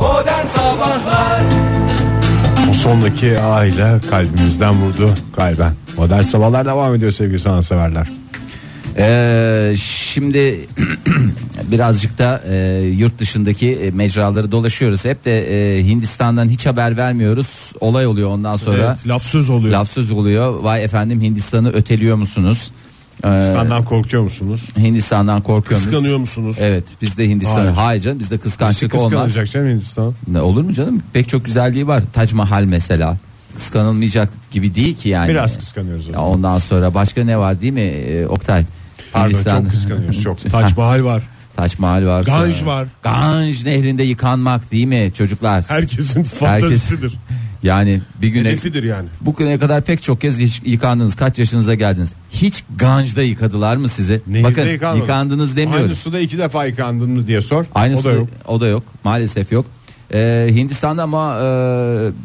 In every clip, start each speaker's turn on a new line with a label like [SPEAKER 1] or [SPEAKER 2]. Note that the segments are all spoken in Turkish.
[SPEAKER 1] Oh, Sabahlar
[SPEAKER 2] Bu sondaki A ile kalbimizden vurdu kalben. Modern sabahlar devam ediyor sevgili sanatseverler.
[SPEAKER 3] Ee, şimdi birazcık da e, yurt dışındaki e, mecraları dolaşıyoruz. Hep de e, Hindistan'dan hiç haber vermiyoruz. Olay oluyor ondan sonra.
[SPEAKER 2] Evet, laf söz oluyor.
[SPEAKER 3] Laf söz oluyor. Vay efendim Hindistan'ı öteliyor musunuz? Ee,
[SPEAKER 2] Hindistan'dan korkuyor musunuz?
[SPEAKER 3] Hindistan'dan korkuyor musunuz?
[SPEAKER 1] kıskanıyor musunuz?
[SPEAKER 3] Evet biz de Hindistan'ı.
[SPEAKER 2] Hayır.
[SPEAKER 3] Hayır, canım bizde kıskançlık olmaz.
[SPEAKER 2] Kıskanacak canım Hindistan.
[SPEAKER 3] Ne olur mu canım? Pek çok güzelliği var. Tac Mahal mesela. Kıskanılmayacak gibi değil ki yani.
[SPEAKER 2] Biraz kıskanıyoruz o
[SPEAKER 3] Ya
[SPEAKER 2] zaman.
[SPEAKER 3] ondan sonra başka ne var değil mi e, Oktay?
[SPEAKER 2] Pardon
[SPEAKER 3] Hindistan-
[SPEAKER 2] çok kıskanıyoruz çok.
[SPEAKER 3] Ha,
[SPEAKER 2] Taç Mahal var.
[SPEAKER 3] Taç Mahal var.
[SPEAKER 2] Ganj
[SPEAKER 3] sonra-
[SPEAKER 2] var.
[SPEAKER 3] Ganj nehrinde yıkanmak değil mi çocuklar?
[SPEAKER 2] Herkesin
[SPEAKER 3] Herkes-
[SPEAKER 2] fantazisidir.
[SPEAKER 3] Yani bir güne
[SPEAKER 1] Hedefidir yani.
[SPEAKER 3] bugüne kadar pek çok kez yış- yıkandınız. Kaç yaşınıza geldiniz? Hiç Ganj'da yıkadılar mı sizi?
[SPEAKER 2] Nehirde
[SPEAKER 3] Bakın
[SPEAKER 2] yıkanmadım.
[SPEAKER 3] yıkandınız
[SPEAKER 2] Aynı
[SPEAKER 3] demiyorum.
[SPEAKER 2] suda iki defa yıkandın mı diye sor.
[SPEAKER 3] Aynı
[SPEAKER 2] o da yok.
[SPEAKER 3] O da yok. Maalesef yok. Ee, Hindistan'da ama e,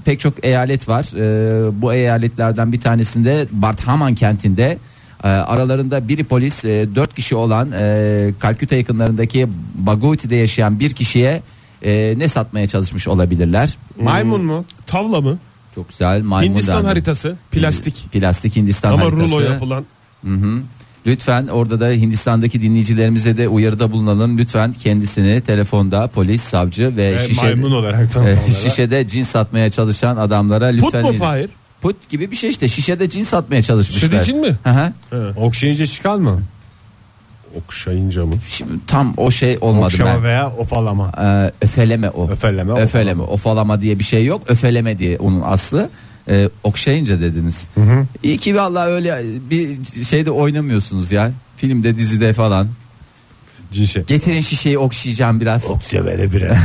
[SPEAKER 3] pek çok eyalet var. E, bu eyaletlerden bir tanesinde Bardhaman kentinde e, aralarında biri polis, e, dört kişi olan e, Kalküta yakınlarındaki Baguti'de yaşayan bir kişiye e, ne satmaya çalışmış olabilirler?
[SPEAKER 4] Maymun mu? Tavla mı?
[SPEAKER 3] Çok güzel maymun
[SPEAKER 4] Hindistan
[SPEAKER 3] dendi.
[SPEAKER 4] haritası. Plastik.
[SPEAKER 3] Plastik Hindistan
[SPEAKER 4] Ama
[SPEAKER 3] haritası.
[SPEAKER 4] rulo yapılan.
[SPEAKER 3] Lütfen orada da Hindistan'daki dinleyicilerimize de uyarıda bulunalım. Lütfen kendisini telefonda polis, savcı ve,
[SPEAKER 2] E,
[SPEAKER 3] şişe,
[SPEAKER 2] maymun olarak
[SPEAKER 3] e,
[SPEAKER 2] tamam. olarak.
[SPEAKER 3] şişede cin satmaya çalışan adamlara
[SPEAKER 4] Put
[SPEAKER 3] lütfen
[SPEAKER 4] mu Fahir?
[SPEAKER 3] Put gibi bir şey işte şişede cin satmaya çalışmışlar.
[SPEAKER 4] Şişede cin mi?
[SPEAKER 3] Hı hı.
[SPEAKER 2] Okşayınca çıkan mı?
[SPEAKER 1] Okşayınca mı?
[SPEAKER 3] Şimdi tam o şey olmadı
[SPEAKER 2] Okşama
[SPEAKER 3] ben.
[SPEAKER 2] veya ofalama.
[SPEAKER 3] Ee, öfeleme o.
[SPEAKER 2] Öfeleme, ofalama.
[SPEAKER 3] Öfeleme. Ofalama diye bir şey yok. Öfeleme diye onun aslı. Ee, okşayınca dediniz. İyi ki vallahi öyle bir şeyde oynamıyorsunuz ya. Filmde, dizide falan.
[SPEAKER 2] Cinsi.
[SPEAKER 3] Getirin şişeyi okşayacağım biraz.
[SPEAKER 2] Okşavere bire.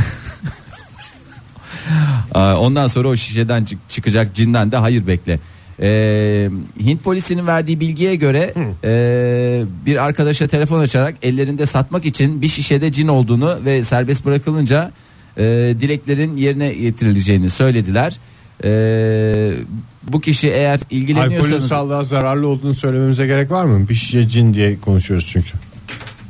[SPEAKER 3] Aa, Ondan sonra o şişeden çık- çıkacak cinden de hayır bekle. Ee, Hint polisinin verdiği bilgiye göre e, bir arkadaşa telefon açarak ellerinde satmak için bir şişede cin olduğunu ve serbest bırakılınca e, dileklerin yerine getirileceğini söylediler. Ee, bu kişi eğer
[SPEAKER 2] Alkolün
[SPEAKER 3] ilgileniyorsanız
[SPEAKER 2] sağlığa zararlı olduğunu söylememize gerek var mı? Bir şişe cin diye konuşuyoruz çünkü.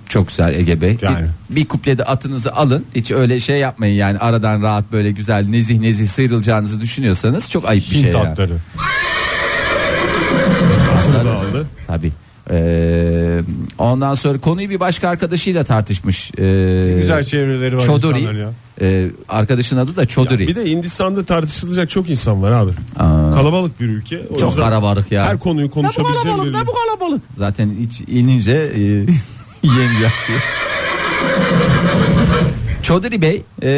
[SPEAKER 3] çok güzel Ege Bey.
[SPEAKER 2] Yani.
[SPEAKER 3] Bir, bir kuplede atınızı alın. Hiç öyle şey yapmayın yani aradan rahat böyle güzel nezih nezih sıyrılacağınızı düşünüyorsanız çok ayıp bir
[SPEAKER 2] Hint
[SPEAKER 3] şey. yani.
[SPEAKER 2] atları.
[SPEAKER 3] Tabii. Ee, ondan sonra konuyu bir başka arkadaşıyla tartışmış. Ee,
[SPEAKER 2] Güzel çevreleri var insanların
[SPEAKER 3] Çoduri.
[SPEAKER 2] ya.
[SPEAKER 3] Ee, arkadaşın adı da Çoduri.
[SPEAKER 4] Bir de Hindistan'da tartışılacak çok insan var abi. Kalabalık bir ülke. O
[SPEAKER 3] Çok
[SPEAKER 4] yüzden
[SPEAKER 3] karabalık ya.
[SPEAKER 4] Her konuyu konuşabileceğim bir ülke.
[SPEAKER 3] kalabalık. Zaten hiç inince e, yenge yapıyor. Çoduri Bey e,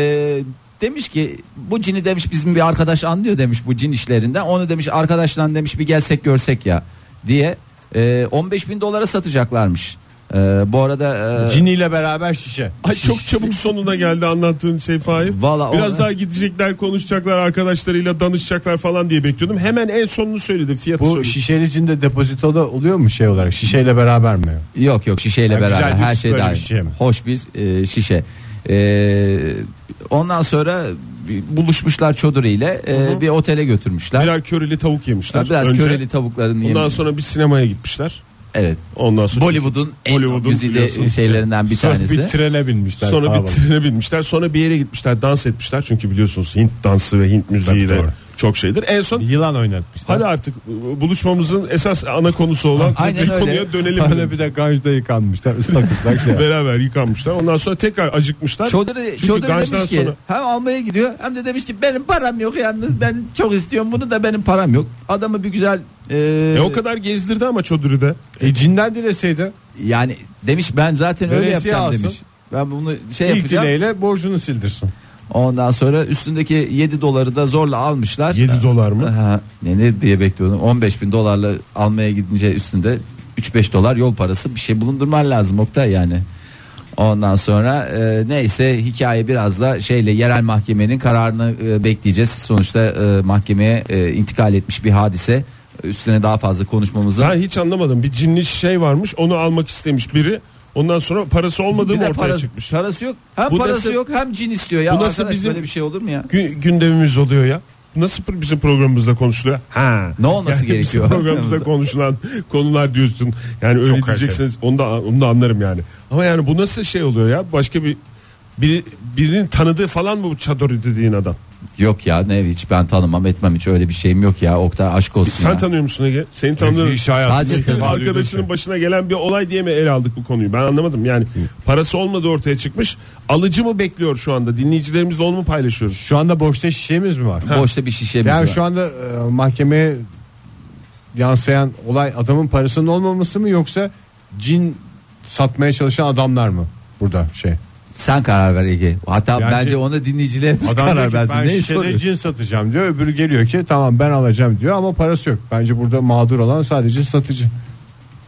[SPEAKER 3] demiş ki bu cini demiş bizim bir arkadaş anlıyor demiş bu cin işlerinden. Onu demiş arkadaşla demiş bir gelsek görsek ya diye e, 15 bin dolara satacaklarmış. E, bu arada e,
[SPEAKER 2] Cin ile beraber şişe.
[SPEAKER 4] Ay çok çabuk sonuna geldi anlattığın şey Fahir.
[SPEAKER 3] Valla
[SPEAKER 4] Biraz
[SPEAKER 3] o-
[SPEAKER 4] daha gidecekler konuşacaklar arkadaşlarıyla danışacaklar falan diye bekliyordum. Hemen en sonunu söyledi fiyatı
[SPEAKER 2] Bu
[SPEAKER 4] söyledi.
[SPEAKER 2] şişeli cin de depozitoda oluyor mu şey olarak? Şişeyle beraber mi?
[SPEAKER 3] Yok yok şişeyle
[SPEAKER 2] Ha,
[SPEAKER 3] beraber
[SPEAKER 2] güzel bir
[SPEAKER 3] her
[SPEAKER 2] şişe,
[SPEAKER 3] şey
[SPEAKER 2] böyle bir
[SPEAKER 3] dahil.
[SPEAKER 2] şişe mi?
[SPEAKER 3] Hoş bir e, şişe. E, ondan sonra bir buluşmuşlar Çoduri ile e, bir otele götürmüşler.
[SPEAKER 4] Birer köreli tavuk yemişler.
[SPEAKER 3] Biraz
[SPEAKER 4] önce.
[SPEAKER 3] köreli tavukların
[SPEAKER 4] Ondan
[SPEAKER 3] yemeği.
[SPEAKER 4] sonra bir sinemaya gitmişler.
[SPEAKER 3] Evet.
[SPEAKER 4] Ondan sonra
[SPEAKER 3] Bollywood'un en
[SPEAKER 4] Bollywood'un
[SPEAKER 3] güzide
[SPEAKER 4] biliyorsunuz
[SPEAKER 3] şeylerinden bir
[SPEAKER 2] Sonra
[SPEAKER 3] tanesi.
[SPEAKER 2] bir trene binmişler.
[SPEAKER 4] Sonra bir
[SPEAKER 2] Pardon.
[SPEAKER 4] trene binmişler. Sonra bir yere gitmişler. Dans etmişler. Çünkü biliyorsunuz Hint dansı ve Hint müziği
[SPEAKER 2] Tabii,
[SPEAKER 4] de
[SPEAKER 2] doğru.
[SPEAKER 4] çok şeydir. En son
[SPEAKER 2] Yılan oynatmışlar.
[SPEAKER 4] hadi artık e, buluşmamızın esas ana konusu olan
[SPEAKER 3] Aynen
[SPEAKER 4] bir
[SPEAKER 3] öyle.
[SPEAKER 4] konuya dönelim.
[SPEAKER 2] Hala
[SPEAKER 4] dedim.
[SPEAKER 2] bir de ganjda yıkanmışlar. Islak ıslak şey.
[SPEAKER 4] Beraber yıkanmışlar. Ondan sonra tekrar acıkmışlar.
[SPEAKER 3] Çoduri,
[SPEAKER 4] Çünkü
[SPEAKER 3] Çoduri
[SPEAKER 4] Ganj'dan
[SPEAKER 3] demiş ki
[SPEAKER 4] sonra-
[SPEAKER 3] hem almaya gidiyor hem de demiş ki benim param yok yalnız ben çok istiyorum bunu da benim param yok. Adamı bir güzel e,
[SPEAKER 4] E, o kadar gezdirdi ama Çoduri de.
[SPEAKER 2] E cinden dileseydi
[SPEAKER 3] yani demiş ben zaten öyle
[SPEAKER 2] Veresiye
[SPEAKER 3] yapacağım
[SPEAKER 2] alsın.
[SPEAKER 3] demiş. Ben bunu şey
[SPEAKER 2] ilk
[SPEAKER 3] yapacağım.
[SPEAKER 2] dileğiyle borcunu sildirsin.
[SPEAKER 3] Ondan sonra üstündeki 7 doları da zorla almışlar.
[SPEAKER 4] 7 dolar mı?
[SPEAKER 3] Ha, ne, ne diye bekliyordum 15 bin dolarla almaya gidince üstünde 3-5 dolar yol parası bir şey bulundurman lazım Oktay yani. Ondan sonra e, neyse hikaye biraz da şeyle yerel mahkemenin kararını e, bekleyeceğiz. Sonuçta e, mahkemeye e, intikal etmiş bir hadise. Üstüne daha fazla konuşmamızın
[SPEAKER 4] Ben hiç anlamadım. Bir cinli şey varmış. Onu almak istemiş biri. Ondan sonra parası olmadığı
[SPEAKER 3] bir
[SPEAKER 4] mı
[SPEAKER 3] de
[SPEAKER 4] ortaya
[SPEAKER 3] para,
[SPEAKER 4] çıkmış.
[SPEAKER 3] parası yok. Hem
[SPEAKER 4] Bu
[SPEAKER 3] parası
[SPEAKER 4] nasıl-
[SPEAKER 3] yok hem cin istiyor ya.
[SPEAKER 4] Bu nasıl
[SPEAKER 3] arkadaş,
[SPEAKER 4] bizim-
[SPEAKER 3] böyle bir şey olur mu ya?
[SPEAKER 4] Gü- gündemimiz oluyor ya. Nasıl pr- bizim programımızda konuşuluyor? Ha.
[SPEAKER 3] Ne olması
[SPEAKER 4] Yani
[SPEAKER 3] gerekiyor?
[SPEAKER 4] Bizim programımızda konuşulan konular diyorsun. Yani öyle
[SPEAKER 2] kaliteli.
[SPEAKER 4] diyeceksiniz. Onu da onu da anlarım yani. Ama yani bu nasıl şey oluyor ya? Başka bir Bir, birinin tanıdığı falan mı bu Çadori dediğin adam?
[SPEAKER 3] Yok ya ne hiç ben tanımam etmem hiç öyle bir şeyim yok ya. Oktay aşk olsun
[SPEAKER 4] Sen
[SPEAKER 3] ya.
[SPEAKER 4] tanıyor musun Ege? Senin tanıdığın
[SPEAKER 2] Bir iş hayatı
[SPEAKER 3] Sadece
[SPEAKER 2] senin
[SPEAKER 3] tabii.
[SPEAKER 4] Senin arkadaşının başına gelen bir olay diye mi ele aldık bu konuyu? Ben anlamadım. Yani parası olmadı ortaya çıkmış. Alıcı mı bekliyor şu anda? Dinleyicilerimizle onu mu paylaşıyoruz?
[SPEAKER 2] Şu anda boşta şişemiz mi var?
[SPEAKER 3] Boşta bir şişemiz
[SPEAKER 2] Yani
[SPEAKER 3] var.
[SPEAKER 2] şu anda e, mahkemeye yansıyan olay adamın parasının olmaması mı yoksa cin satmaya çalışan adamlar mı burada şey?
[SPEAKER 3] Sen karar ver Ege. Hatta
[SPEAKER 2] Yani- şey,
[SPEAKER 3] bence ona dinleyicilerimiz
[SPEAKER 2] Adam diyor
[SPEAKER 3] karar
[SPEAKER 2] ki,
[SPEAKER 3] versin.
[SPEAKER 2] ben
[SPEAKER 3] Ne
[SPEAKER 2] şişede
[SPEAKER 3] soruyorsun?
[SPEAKER 2] cin satacağım diyor. Öbürü geliyor ki tamam ben alacağım diyor ama parası yok. Bence burada mağdur olan sadece satıcı.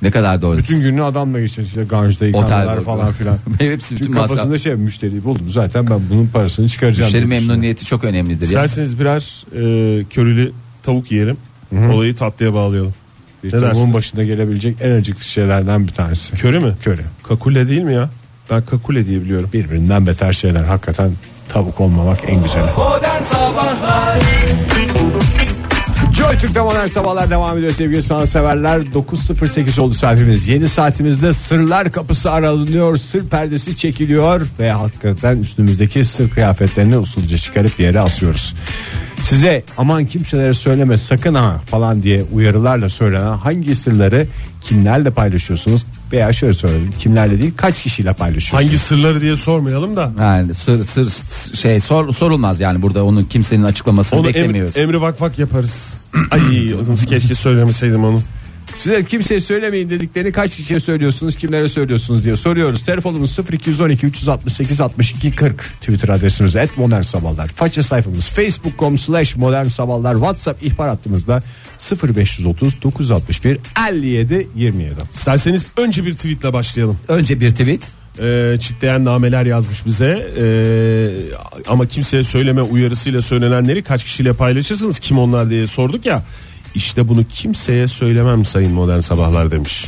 [SPEAKER 3] Ne kadar doğru.
[SPEAKER 2] Bütün gününü adamla geçirir. İşte ganjda
[SPEAKER 3] Otel
[SPEAKER 2] yıkamalar falan filan.
[SPEAKER 3] Hepsi bütün
[SPEAKER 2] Çünkü
[SPEAKER 3] masraf.
[SPEAKER 2] kafasında şey müşteriyi buldum zaten ben bunun parasını çıkaracağım.
[SPEAKER 3] Müşteri
[SPEAKER 2] diyor.
[SPEAKER 3] memnuniyeti çok önemlidir. Ya.
[SPEAKER 4] İsterseniz birer e, körülü tavuk yiyelim. Olayı tatlıya bağlayalım.
[SPEAKER 2] Bir
[SPEAKER 4] Ne
[SPEAKER 2] tavuğun
[SPEAKER 4] dersiniz?
[SPEAKER 2] başına gelebilecek en acıklı şeylerden bir tanesi.
[SPEAKER 4] Körü mü?
[SPEAKER 2] Köre.
[SPEAKER 4] Kakule değil mi ya? Ben kakule diye biliyorum.
[SPEAKER 2] Birbirinden beter şeyler. Hakikaten tavuk olmamak en güzeli.
[SPEAKER 1] Modern Sabahlar
[SPEAKER 2] Joy Türk'te modern sabahlar devam ediyor sevgili sanatseverler. 9.08 oldu saatimiz. Yeni saatimizde sırlar kapısı aralanıyor. Sır perdesi çekiliyor. Ve hakikaten üstümüzdeki sır kıyafetlerini usulca çıkarıp yere asıyoruz. Size aman kimselere söyleme sakın ha falan diye uyarılarla söylenen hangi sırları kimlerle paylaşıyorsunuz? Veya şöyle soralım kimlerle değil kaç kişiyle paylaşıyorsunuz?
[SPEAKER 4] Hangi sırları diye sormayalım da.
[SPEAKER 3] Yani sır, sır sır- şey sor, sorulmaz yani burada onun kimsenin açıklamasını
[SPEAKER 4] Onu
[SPEAKER 3] beklemiyoruz.
[SPEAKER 4] emri, emri vak vak yaparız. Ay onu keşke söylemeseydim onu.
[SPEAKER 2] Size kimseye söylemeyin dediklerini kaç kişiye söylüyorsunuz kimlere söylüyorsunuz diye soruyoruz. Telefonumuz 0212 368 62 40 Twitter adresimiz et modern sabahlar. Faça sayfamız facebook.com slash modern sabahlar. Whatsapp ihbar hattımızda 0530 961 57 27.
[SPEAKER 4] İsterseniz önce bir tweetle başlayalım.
[SPEAKER 3] Önce bir tweet.
[SPEAKER 4] Ee, çitleyen nameler yazmış bize. Ee, ama kimseye söyleme uyarısıyla söylenenleri kaç kişiyle paylaşırsınız? Kim onlar diye sorduk ya. İşte bunu kimseye söylemem sayın modern sabahlar demiş.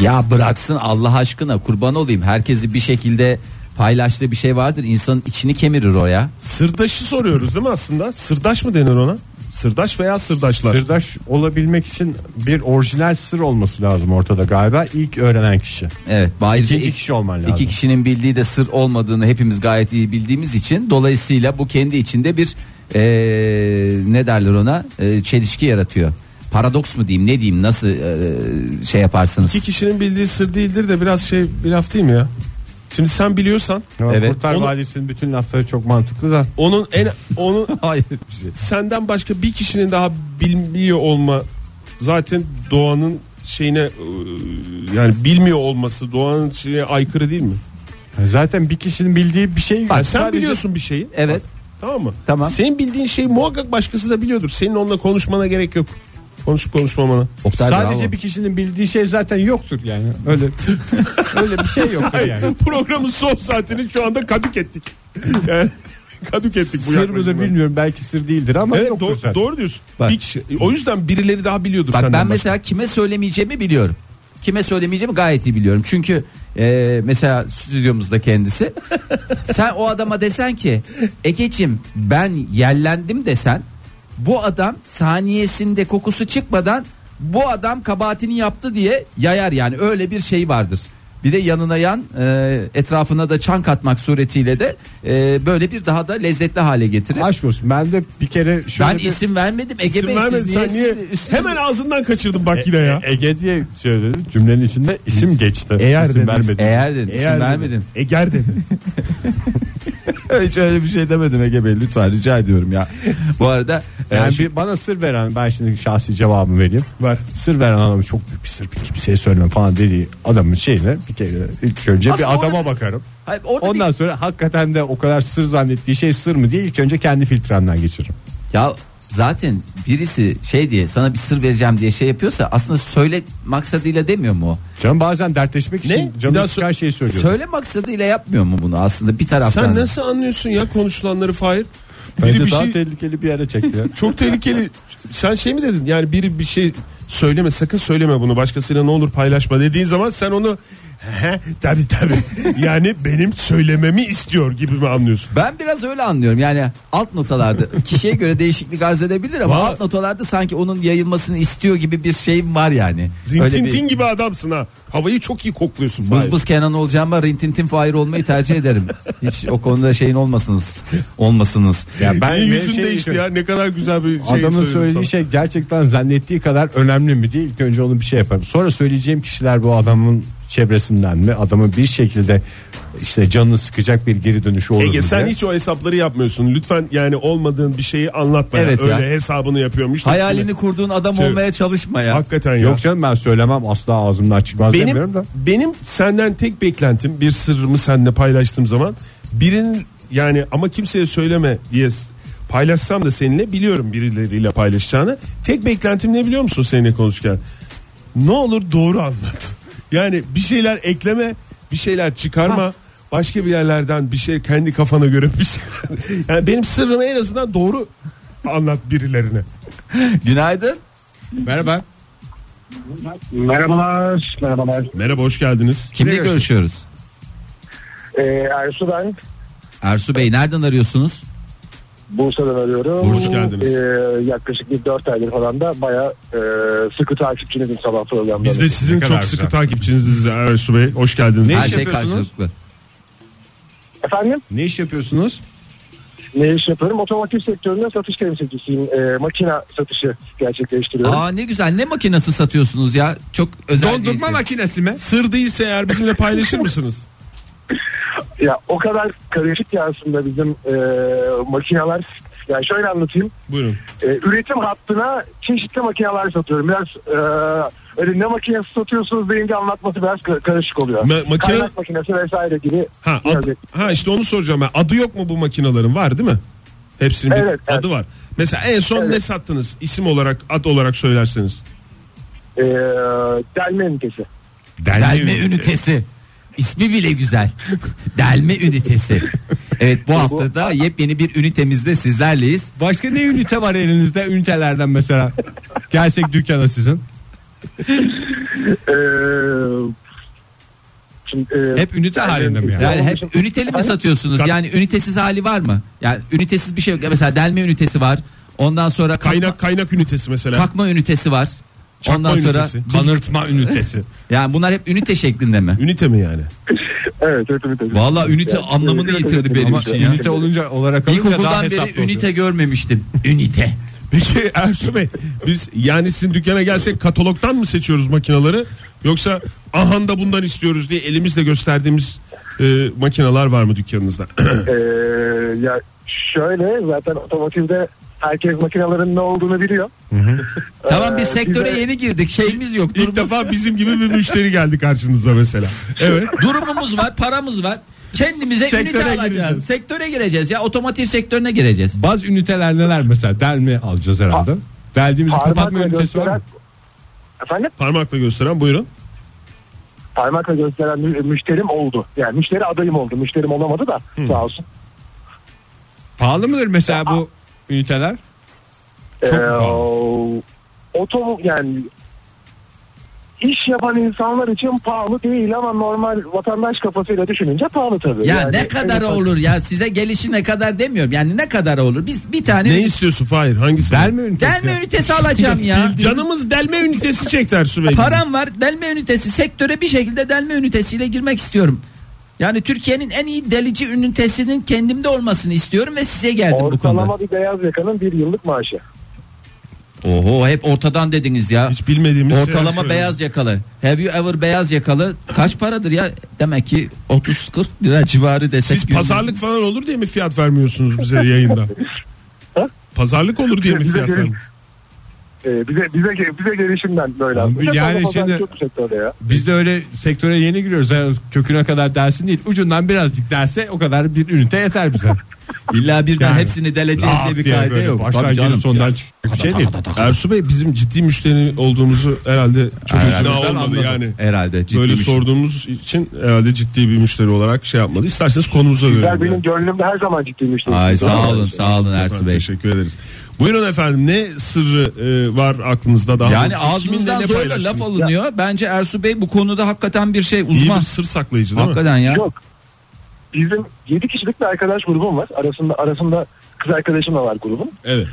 [SPEAKER 3] Ya bıraksın Allah aşkına kurban olayım. Herkesi bir şekilde paylaştığı bir şey vardır. İnsanın içini kemirir o ya.
[SPEAKER 4] Sırdaşı soruyoruz değil mi aslında? Sırdaş mı denir ona? Sırdaş veya sırdaşlar.
[SPEAKER 2] Sırdaş olabilmek için bir orijinal sır olması lazım ortada galiba. İlk öğrenen kişi.
[SPEAKER 3] Evet. Ayrıca
[SPEAKER 2] İkinci
[SPEAKER 3] ik-
[SPEAKER 2] kişi olman lazım.
[SPEAKER 3] İki kişinin bildiği de sır olmadığını hepimiz gayet iyi bildiğimiz için dolayısıyla bu kendi içinde bir eee, ne derler ona Eee, çelişki yaratıyor. Paradoks mu diyeyim ne diyeyim nasıl eee, şey yaparsınız?
[SPEAKER 4] İki kişinin bildiği sır değildir de biraz şey bir laf değil mi ya? Şimdi sen biliyorsan
[SPEAKER 3] Evet.
[SPEAKER 2] Kurtlar
[SPEAKER 4] Onu-
[SPEAKER 2] Vadisi'nin bütün lafları çok mantıklı da.
[SPEAKER 4] onun en onun
[SPEAKER 3] Hayır bir şey.
[SPEAKER 4] senden başka bir kişinin daha bilmiyor olma zaten doğanın şeyine e, yani bilmiyor olması doğanın şeye aykırı değil mi?
[SPEAKER 2] Zaten bir kişinin bildiği bir şey. yok.
[SPEAKER 4] Yani sen
[SPEAKER 2] Sadece-
[SPEAKER 4] biliyorsun bir şeyi.
[SPEAKER 3] Evet.
[SPEAKER 4] Tamam mı?
[SPEAKER 3] Tamam.
[SPEAKER 4] Senin bildiğin şeyi muhakkak başkası da biliyordur. Senin onunla konuşmana gerek yok. Konuşup konuşmamana.
[SPEAKER 3] Oktay
[SPEAKER 2] Sadece
[SPEAKER 3] bravo.
[SPEAKER 2] bir kişinin bildiği şey zaten yoktur yani. Öyle öyle bir şey yoktur yani.
[SPEAKER 4] Programın son saatini şu anda kadük ettik. Yani kadük ettik bu
[SPEAKER 2] Sır mıdır
[SPEAKER 4] yaklaşımla.
[SPEAKER 2] bilmiyorum belki sır değildir ama
[SPEAKER 4] Evet,
[SPEAKER 2] yoktur
[SPEAKER 4] doğru,
[SPEAKER 2] zaten.
[SPEAKER 4] doğru diyorsun.
[SPEAKER 3] Bak.
[SPEAKER 4] Bir kişi, o yüzden birileri daha biliyordur
[SPEAKER 3] Bak
[SPEAKER 4] senden.
[SPEAKER 3] ben
[SPEAKER 4] başka.
[SPEAKER 3] mesela kime söylemeyeceğimi biliyorum. Kime söylemeyeceğimi gayet iyi biliyorum. Çünkü eee, mesela stüdyomuzda kendisi. sen o adama desen ki Ege'cim ben yerlendim desen bu adam saniyesinde kokusu çıkmadan bu adam kabahatini yaptı diye yayar yani öyle bir şey vardır. Bir de yanına yan eee, etrafına da çan katmak suretiyle de eee, böyle bir daha da lezzetli hale getirir.
[SPEAKER 2] Aşk olsun ben de bir kere şöyle
[SPEAKER 3] ben
[SPEAKER 2] bir-
[SPEAKER 3] isim vermedim Ege
[SPEAKER 4] İsim
[SPEAKER 3] Bey siz
[SPEAKER 4] vermedin, sen
[SPEAKER 3] siz E,
[SPEAKER 4] niye-
[SPEAKER 3] üstünüze-
[SPEAKER 4] Hemen ağzından kaçırdım bak yine ya.
[SPEAKER 2] E, Ege diye söyledim cümlenin içinde isim geçti.
[SPEAKER 4] Eğer
[SPEAKER 2] isim
[SPEAKER 4] dediniz.
[SPEAKER 2] vermedim.
[SPEAKER 3] Eğer dedim, isim vermedim.
[SPEAKER 4] Eger dedi.
[SPEAKER 3] Hiç öyle bir şey demedim Ege Bey lütfen rica ediyorum ya. Bu arada e,
[SPEAKER 2] Yani
[SPEAKER 3] şu-
[SPEAKER 2] bir, bana sır veren ben şimdi şahsi cevabımı vereyim.
[SPEAKER 4] Ver.
[SPEAKER 2] Sır veren adamın çok büyük bir sır bir kimseye söyleme falan dediği adamın şeyine bir kere ilk önce
[SPEAKER 3] Aslında
[SPEAKER 2] bir adama
[SPEAKER 3] orada-
[SPEAKER 2] bakarım.
[SPEAKER 3] Hayır, orada
[SPEAKER 2] Ondan
[SPEAKER 3] bir-
[SPEAKER 2] sonra hakikaten de o kadar sır zannettiği şey sır mı diye ilk önce kendi filtremden geçiririm.
[SPEAKER 3] ya zaten birisi şey diye sana bir sır vereceğim diye şey yapıyorsa aslında söyle maksadıyla demiyor mu? o?
[SPEAKER 2] Canım bazen dertleşmek
[SPEAKER 4] Ne?
[SPEAKER 2] için
[SPEAKER 4] Bir daha
[SPEAKER 2] canım sıkan
[SPEAKER 4] sö-
[SPEAKER 2] şeyi söylüyorum.
[SPEAKER 3] Söyle maksadıyla yapmıyor mu bunu aslında bir taraftan?
[SPEAKER 4] Sen nasıl anlıyorsun ya konuşulanları Fahir?
[SPEAKER 2] Bence
[SPEAKER 4] Biri bir
[SPEAKER 2] daha
[SPEAKER 4] şey
[SPEAKER 2] tehlikeli bir yere çekti. ya.
[SPEAKER 4] çok tehlikeli. Sen şey mi dedin? Yani biri bir şey söyleme sakın söyleme bunu başkasıyla ne olur paylaşma dediğin zaman sen onu tabi tabi. Yani benim söylememi istiyor gibi mi anlıyorsun?
[SPEAKER 3] Ben biraz öyle anlıyorum yani alt notalarda kişiye göre değişiklik arz edebilir ama
[SPEAKER 4] Valla-
[SPEAKER 3] alt notalarda sanki onun yayılmasını istiyor gibi bir şeyim var yani. Öyle bir
[SPEAKER 4] Rintintin gibi adamsın ha. Havayı çok iyi kokluyorsun.
[SPEAKER 3] bız
[SPEAKER 4] Fahir.
[SPEAKER 3] bız Kenan olacağıma rintintin Fahir olmayı tercih ederim. Hiç o konuda şeyin olmasınız. Olmasınız.
[SPEAKER 2] Ya ben
[SPEAKER 4] Benim
[SPEAKER 2] ve
[SPEAKER 4] yüzüm
[SPEAKER 2] şey-
[SPEAKER 4] değişti ya ne kadar güzel bir şey
[SPEAKER 2] Adamın
[SPEAKER 4] söyledin
[SPEAKER 2] söylediği
[SPEAKER 4] sana.
[SPEAKER 2] şey gerçekten zannettiği kadar önemli mi değil. İlk önce onu bir şey yaparım. Sonra söyleyeceğim kişiler bu adamın çevresinden mi? Adamın bir şekilde işte canını sıkacak bir geri dönüşü olur mu?
[SPEAKER 4] Ege sen
[SPEAKER 2] diye.
[SPEAKER 4] hiç o hesapları yapmıyorsun. Lütfen yani olmadığın bir şeyi anlatma. ya.
[SPEAKER 3] Evet ya.
[SPEAKER 4] Öyle hesabını yapıyormuş. da-
[SPEAKER 3] Hayalini kurduğun adam
[SPEAKER 4] Şey-
[SPEAKER 3] olmaya çalışma ya.
[SPEAKER 4] Hakikaten ya.
[SPEAKER 2] Yok canım ben söylemem asla ağzımdan çıkmaz demiyorum
[SPEAKER 4] benim
[SPEAKER 2] da.
[SPEAKER 4] benim senden tek beklentim bir sırrımı seninle paylaştığım zaman birinin yani ama kimseye söyleme diye s- paylaşsam da seninle biliyorum birileriyle paylaşacağını. Tek beklentim ne biliyor musun seninle konuşurken? Ne olur doğru anlat. Yani bir şeyler ekleme, bir şeyler çıkarma. Başka bir yerlerden bir şey kendi kafana göre bir şeyler. Yani benim sırrımı en azından doğru anlat birilerine.
[SPEAKER 3] Günaydın.
[SPEAKER 2] Merhaba.
[SPEAKER 5] Merhabalar, merhabalar.
[SPEAKER 4] Merhaba hoş geldiniz.
[SPEAKER 3] Kimle
[SPEAKER 2] Biliyorsun.
[SPEAKER 3] görüşüyoruz?
[SPEAKER 5] Ee, Ersu ben,
[SPEAKER 3] Ersu Bey nereden arıyorsunuz?
[SPEAKER 5] Bursa'dan arıyorum.
[SPEAKER 4] Hoş geldiniz.
[SPEAKER 5] Ee, yaklaşık bir 4 aydır falan da baya e, sıkı takipçinizim sabah programlarını.
[SPEAKER 4] Biz de sizin
[SPEAKER 2] Ne kadar
[SPEAKER 4] çok sıkı
[SPEAKER 2] güzel.
[SPEAKER 4] takipçiniziz Ersu Bey. Hoş geldiniz.
[SPEAKER 2] Ne
[SPEAKER 3] Her
[SPEAKER 2] iş
[SPEAKER 3] şey
[SPEAKER 2] yapıyorsunuz?
[SPEAKER 3] karşılıklı.
[SPEAKER 5] Efendim,
[SPEAKER 2] Ne iş yapıyorsunuz?
[SPEAKER 5] ne iş yapıyorum? Otomotiv sektöründe satış temsilcisiyim. Ee, makina satışı gerçekleştiriyorum.
[SPEAKER 3] Aa ne güzel ne makinesi satıyorsunuz ya? Çok özel bir isim.
[SPEAKER 2] makinesi mi?
[SPEAKER 4] Sır değilse eğer bizimle paylaşır mısınız?
[SPEAKER 5] Ya o kadar karışık ki aslında bizim e, makineler. Yani şöyle anlatayım.
[SPEAKER 4] Buyurun.
[SPEAKER 5] E, üretim hattına çeşitli makineler satıyorum. Biraz e, öyle ne makinesi satıyorsunuz deyince anlatması biraz ka- karışık oluyor.
[SPEAKER 4] Ma- makine-
[SPEAKER 5] Kaynak makinesi vesaire gibi. şey.
[SPEAKER 4] Ha,
[SPEAKER 5] biraz-
[SPEAKER 4] ad- ha işte onu soracağım ben. Adı yok mu bu makinelerin? Var değil mi? Hepsinin
[SPEAKER 5] Evet,
[SPEAKER 4] bir
[SPEAKER 5] evet.
[SPEAKER 4] adı var. Mesela en son
[SPEAKER 5] Evet.
[SPEAKER 4] ne sattınız? İsim olarak, ad olarak söylerseniz.
[SPEAKER 5] e, delme ünitesi.
[SPEAKER 3] Delme ünitesi. İsmi bile güzel. Delme ünitesi. Evet bu hafta da yepyeni bir ünitemizde sizlerleyiz.
[SPEAKER 2] Başka ne ünite var elinizde? Ünitelerden mesela. Gelsek dükkana sizin.
[SPEAKER 5] E, şimdi, e,
[SPEAKER 2] Hep ünite halinde mi yani?
[SPEAKER 3] Yani hep üniteli mi
[SPEAKER 4] Hani
[SPEAKER 5] Efendim?
[SPEAKER 3] satıyorsunuz? Yani ünitesiz hali var mı? Yani ünitesiz bir şey yok. Mesela delme ünitesi var. Ondan sonra kalkma,
[SPEAKER 4] Kaynak kaynak ünitesi mesela.
[SPEAKER 3] kalkma ünitesi var.
[SPEAKER 4] Çakma
[SPEAKER 3] Ondan sonra
[SPEAKER 4] ünitesi.
[SPEAKER 2] Kanırtma ünitesi.
[SPEAKER 3] yani bunlar hep ünite şeklinde mi?
[SPEAKER 4] Ünite mi yani?
[SPEAKER 5] Evet, evet, evet, evet.
[SPEAKER 3] Vallahi ünite anlamını
[SPEAKER 5] ünite-
[SPEAKER 3] yitirdi benim
[SPEAKER 2] Ama
[SPEAKER 3] için ya.
[SPEAKER 2] ünite olunca olarak alınca daha
[SPEAKER 3] İlkokuldan
[SPEAKER 2] hesaplı
[SPEAKER 3] beri
[SPEAKER 2] oluyor.
[SPEAKER 3] ünite görmemiştim. Ünite.
[SPEAKER 4] Peki Ersu Bey biz yani sizin dükkana gelsek katalogdan mı seçiyoruz makinaları yoksa ahan da bundan istiyoruz diye elimizle gösterdiğimiz e, makineler var mı dükkanınızda?
[SPEAKER 5] E, ya şöyle zaten otomotivde herkes makinelerin ne olduğunu biliyor.
[SPEAKER 3] Tamam biz
[SPEAKER 5] Ee,
[SPEAKER 3] sektöre
[SPEAKER 5] bize-
[SPEAKER 3] yeni girdik. Şeyimiz yok.
[SPEAKER 4] İlk defa bizim gibi bir müşteri geldi karşınıza mesela. Evet.
[SPEAKER 3] Durumumuz var, paramız var. Kendimize ünite alacağız.
[SPEAKER 4] gireceğiz.
[SPEAKER 3] Sektöre gireceğiz ya. Otomotiv sektörüne gireceğiz.
[SPEAKER 2] Bazı üniteler neler mesela? Delme alacağız herhalde. Deldiğimizi kapatma
[SPEAKER 5] Parmakla
[SPEAKER 2] ünitesi var
[SPEAKER 5] gösteren
[SPEAKER 2] mı?
[SPEAKER 5] Efendim?
[SPEAKER 4] Parmakla gösteren buyurun.
[SPEAKER 5] Parmakla gösteren mü- müşterim oldu. Yani müşteri adayım oldu. Müşterim olamadı da sağ olsun.
[SPEAKER 2] Pahalı mıdır mesela bu üniteler?
[SPEAKER 5] Çok
[SPEAKER 2] pahalı.
[SPEAKER 5] otomo Ee, yani iş yapan insanlar için pahalı değil ama normal vatandaş kafasıyla düşününce pahalı tabii.
[SPEAKER 3] Ya
[SPEAKER 5] Yani
[SPEAKER 3] ne kadar
[SPEAKER 5] en-
[SPEAKER 3] olur ya size gelişi ne kadar demiyorum. Yani ne kadar olur? Biz bir tane
[SPEAKER 4] Ne
[SPEAKER 3] ünite-
[SPEAKER 4] istiyorsun Fahir? Hangisi?
[SPEAKER 2] Delme ünitesi.
[SPEAKER 3] delme ünitesi alacağım ya.
[SPEAKER 4] Canımız delme ünitesi çekti Ersu Bey.
[SPEAKER 3] Param var. Delme ünitesi sektöre bir şekilde delme ünitesiyle girmek istiyorum. Yani Türkiye'nin en iyi delici ünitesinin kendimde olmasını istiyorum ve size geldim bu konuda.
[SPEAKER 5] Ortalama bir beyaz yakanın bir yıllık maaşı.
[SPEAKER 3] Oho hep ortadan dediniz ya.
[SPEAKER 4] Hiç bilmediğimiz
[SPEAKER 3] Ortalama
[SPEAKER 4] şeyler
[SPEAKER 3] beyaz yakalı. Have you ever beyaz yakalı kaç paradır ya? Demek ki 30-40 lira civarı desek.
[SPEAKER 4] Siz
[SPEAKER 3] günümüz-
[SPEAKER 4] pazarlık falan olur diye mi fiyat vermiyorsunuz bize yayında?
[SPEAKER 5] Ha?
[SPEAKER 4] pazarlık olur diye mi
[SPEAKER 5] Bize
[SPEAKER 4] fiyat
[SPEAKER 5] gelin-
[SPEAKER 4] vermiyorsunuz?
[SPEAKER 5] Ee, bize bize ge- bize gelişimden böyle.
[SPEAKER 2] Abi
[SPEAKER 5] aslında.
[SPEAKER 2] yani
[SPEAKER 5] Ama pazar
[SPEAKER 2] şimdi-
[SPEAKER 5] çok bu sektörde ya.
[SPEAKER 2] Biz de öyle sektöre yeni giriyoruz. Yani köküne kadar dersin değil. Ucundan birazcık derse o kadar bir ünite yeter bize.
[SPEAKER 3] İlla birden
[SPEAKER 2] Yani,
[SPEAKER 3] hepsini deleceğiz
[SPEAKER 2] Laf
[SPEAKER 3] diye bir
[SPEAKER 2] diye
[SPEAKER 3] kaide
[SPEAKER 2] böyle
[SPEAKER 3] yok.
[SPEAKER 2] Baştan
[SPEAKER 3] Tabii
[SPEAKER 2] girip
[SPEAKER 3] canım.
[SPEAKER 2] sondan çıkacak bir şey değil.
[SPEAKER 4] Ersu Bey bizim ciddi müşteri olduğumuzu herhalde çok
[SPEAKER 3] Herhalde
[SPEAKER 4] ikna
[SPEAKER 3] ben
[SPEAKER 4] olmadı
[SPEAKER 3] anladım.
[SPEAKER 4] yani.
[SPEAKER 3] Herhalde ciddi
[SPEAKER 4] Böyle
[SPEAKER 3] bir şey.
[SPEAKER 4] sorduğumuz için herhalde ciddi bir müşteri olarak şey yapmadı. İsterseniz konumuza
[SPEAKER 5] Sizler
[SPEAKER 4] dönelim.
[SPEAKER 5] benim gönlümde her zaman ciddi müşteri.
[SPEAKER 3] Ay sağ olun sağ olun Ersu
[SPEAKER 4] Efendim,
[SPEAKER 3] Bey.
[SPEAKER 4] Teşekkür ederiz. Buyurun efendim ne sırrı e, var aklınızda daha?
[SPEAKER 3] Yani
[SPEAKER 4] doğrusu kiminle
[SPEAKER 3] ağzımızdan
[SPEAKER 4] ne
[SPEAKER 3] zorla
[SPEAKER 4] paylaştınız?
[SPEAKER 3] laf alınıyor. Bence Ersu Bey bu konuda hakikaten bir şey
[SPEAKER 4] İyi
[SPEAKER 3] uzman.
[SPEAKER 4] bir sır saklayıcı değil mi?
[SPEAKER 3] Hakikaten ya.
[SPEAKER 5] Yok. Bizim 7 kişilik bir arkadaş grubum var. Arasında arasında kız arkadaşım da var grubun.
[SPEAKER 4] Evet.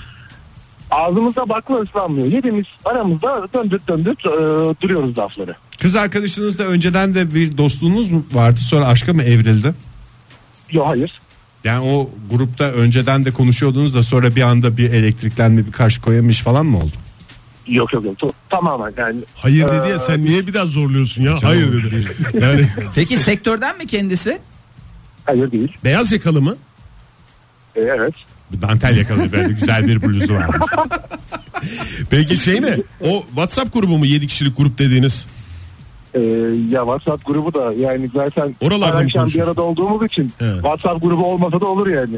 [SPEAKER 5] Ağzımızda bakla ıslanmıyor. Yediğimiz aramızda döndürt döndürt e, duruyoruz lafları.
[SPEAKER 2] Kız arkadaşınızla önceden de bir dostluğunuz mu vardı sonra aşka mı evrildi?
[SPEAKER 5] Yok hayır.
[SPEAKER 2] Yani o grupta önceden de konuşuyordunuz da sonra bir anda bir elektriklenme bir karşı koyamış falan mı oldu?
[SPEAKER 5] Yok yok yok. Tu- Tamamen yani.
[SPEAKER 4] Hayır
[SPEAKER 5] dedi
[SPEAKER 2] Ee,
[SPEAKER 5] ya,
[SPEAKER 4] sen niye bir daha zorluyorsun ya? Hayır dedi. Yani
[SPEAKER 3] Peki sektörden mi kendisi?
[SPEAKER 5] Hayır değil.
[SPEAKER 4] beyaz yakalı mı?
[SPEAKER 5] E, evet.
[SPEAKER 2] Dantel yakaladı böyle güzel bir bluzu var.
[SPEAKER 4] Peki şey mi? O WhatsApp grubu mu 7 kişilik grup dediğiniz?
[SPEAKER 5] E, ya WhatsApp grubu da yani zaten
[SPEAKER 4] Oralarda
[SPEAKER 5] her
[SPEAKER 4] mı
[SPEAKER 5] akşam bir
[SPEAKER 4] konuşuyorsun?
[SPEAKER 5] arada olduğumuz için
[SPEAKER 4] Evet.
[SPEAKER 5] WhatsApp grubu olmasa da olur yani.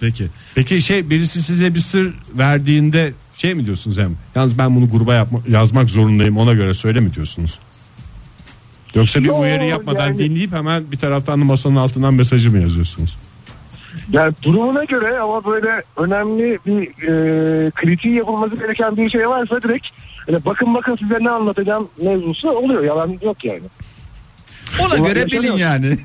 [SPEAKER 4] Peki.
[SPEAKER 2] Peki şey birisi size bir sır verdiğinde şey mi diyorsunuz hem? Yalnız ben bunu gruba yapma, yazmak zorundayım ona göre söyle mi diyorsunuz? Yoksa bir
[SPEAKER 5] Yo,
[SPEAKER 2] uyarı yapmadan
[SPEAKER 5] yani-
[SPEAKER 2] dinleyip hemen bir taraftan da masanın altından mesajı mı yazıyorsunuz?
[SPEAKER 5] Yani durumuna göre ama böyle önemli bir e, kritiği yapılması gereken bir şey varsa direkt hani bakın bakın size ne anlatacağım mevzusu oluyor. Yalan yok yani.
[SPEAKER 3] Ona
[SPEAKER 5] Ulan
[SPEAKER 3] göre bilin
[SPEAKER 5] yaşanıyor.
[SPEAKER 3] yani.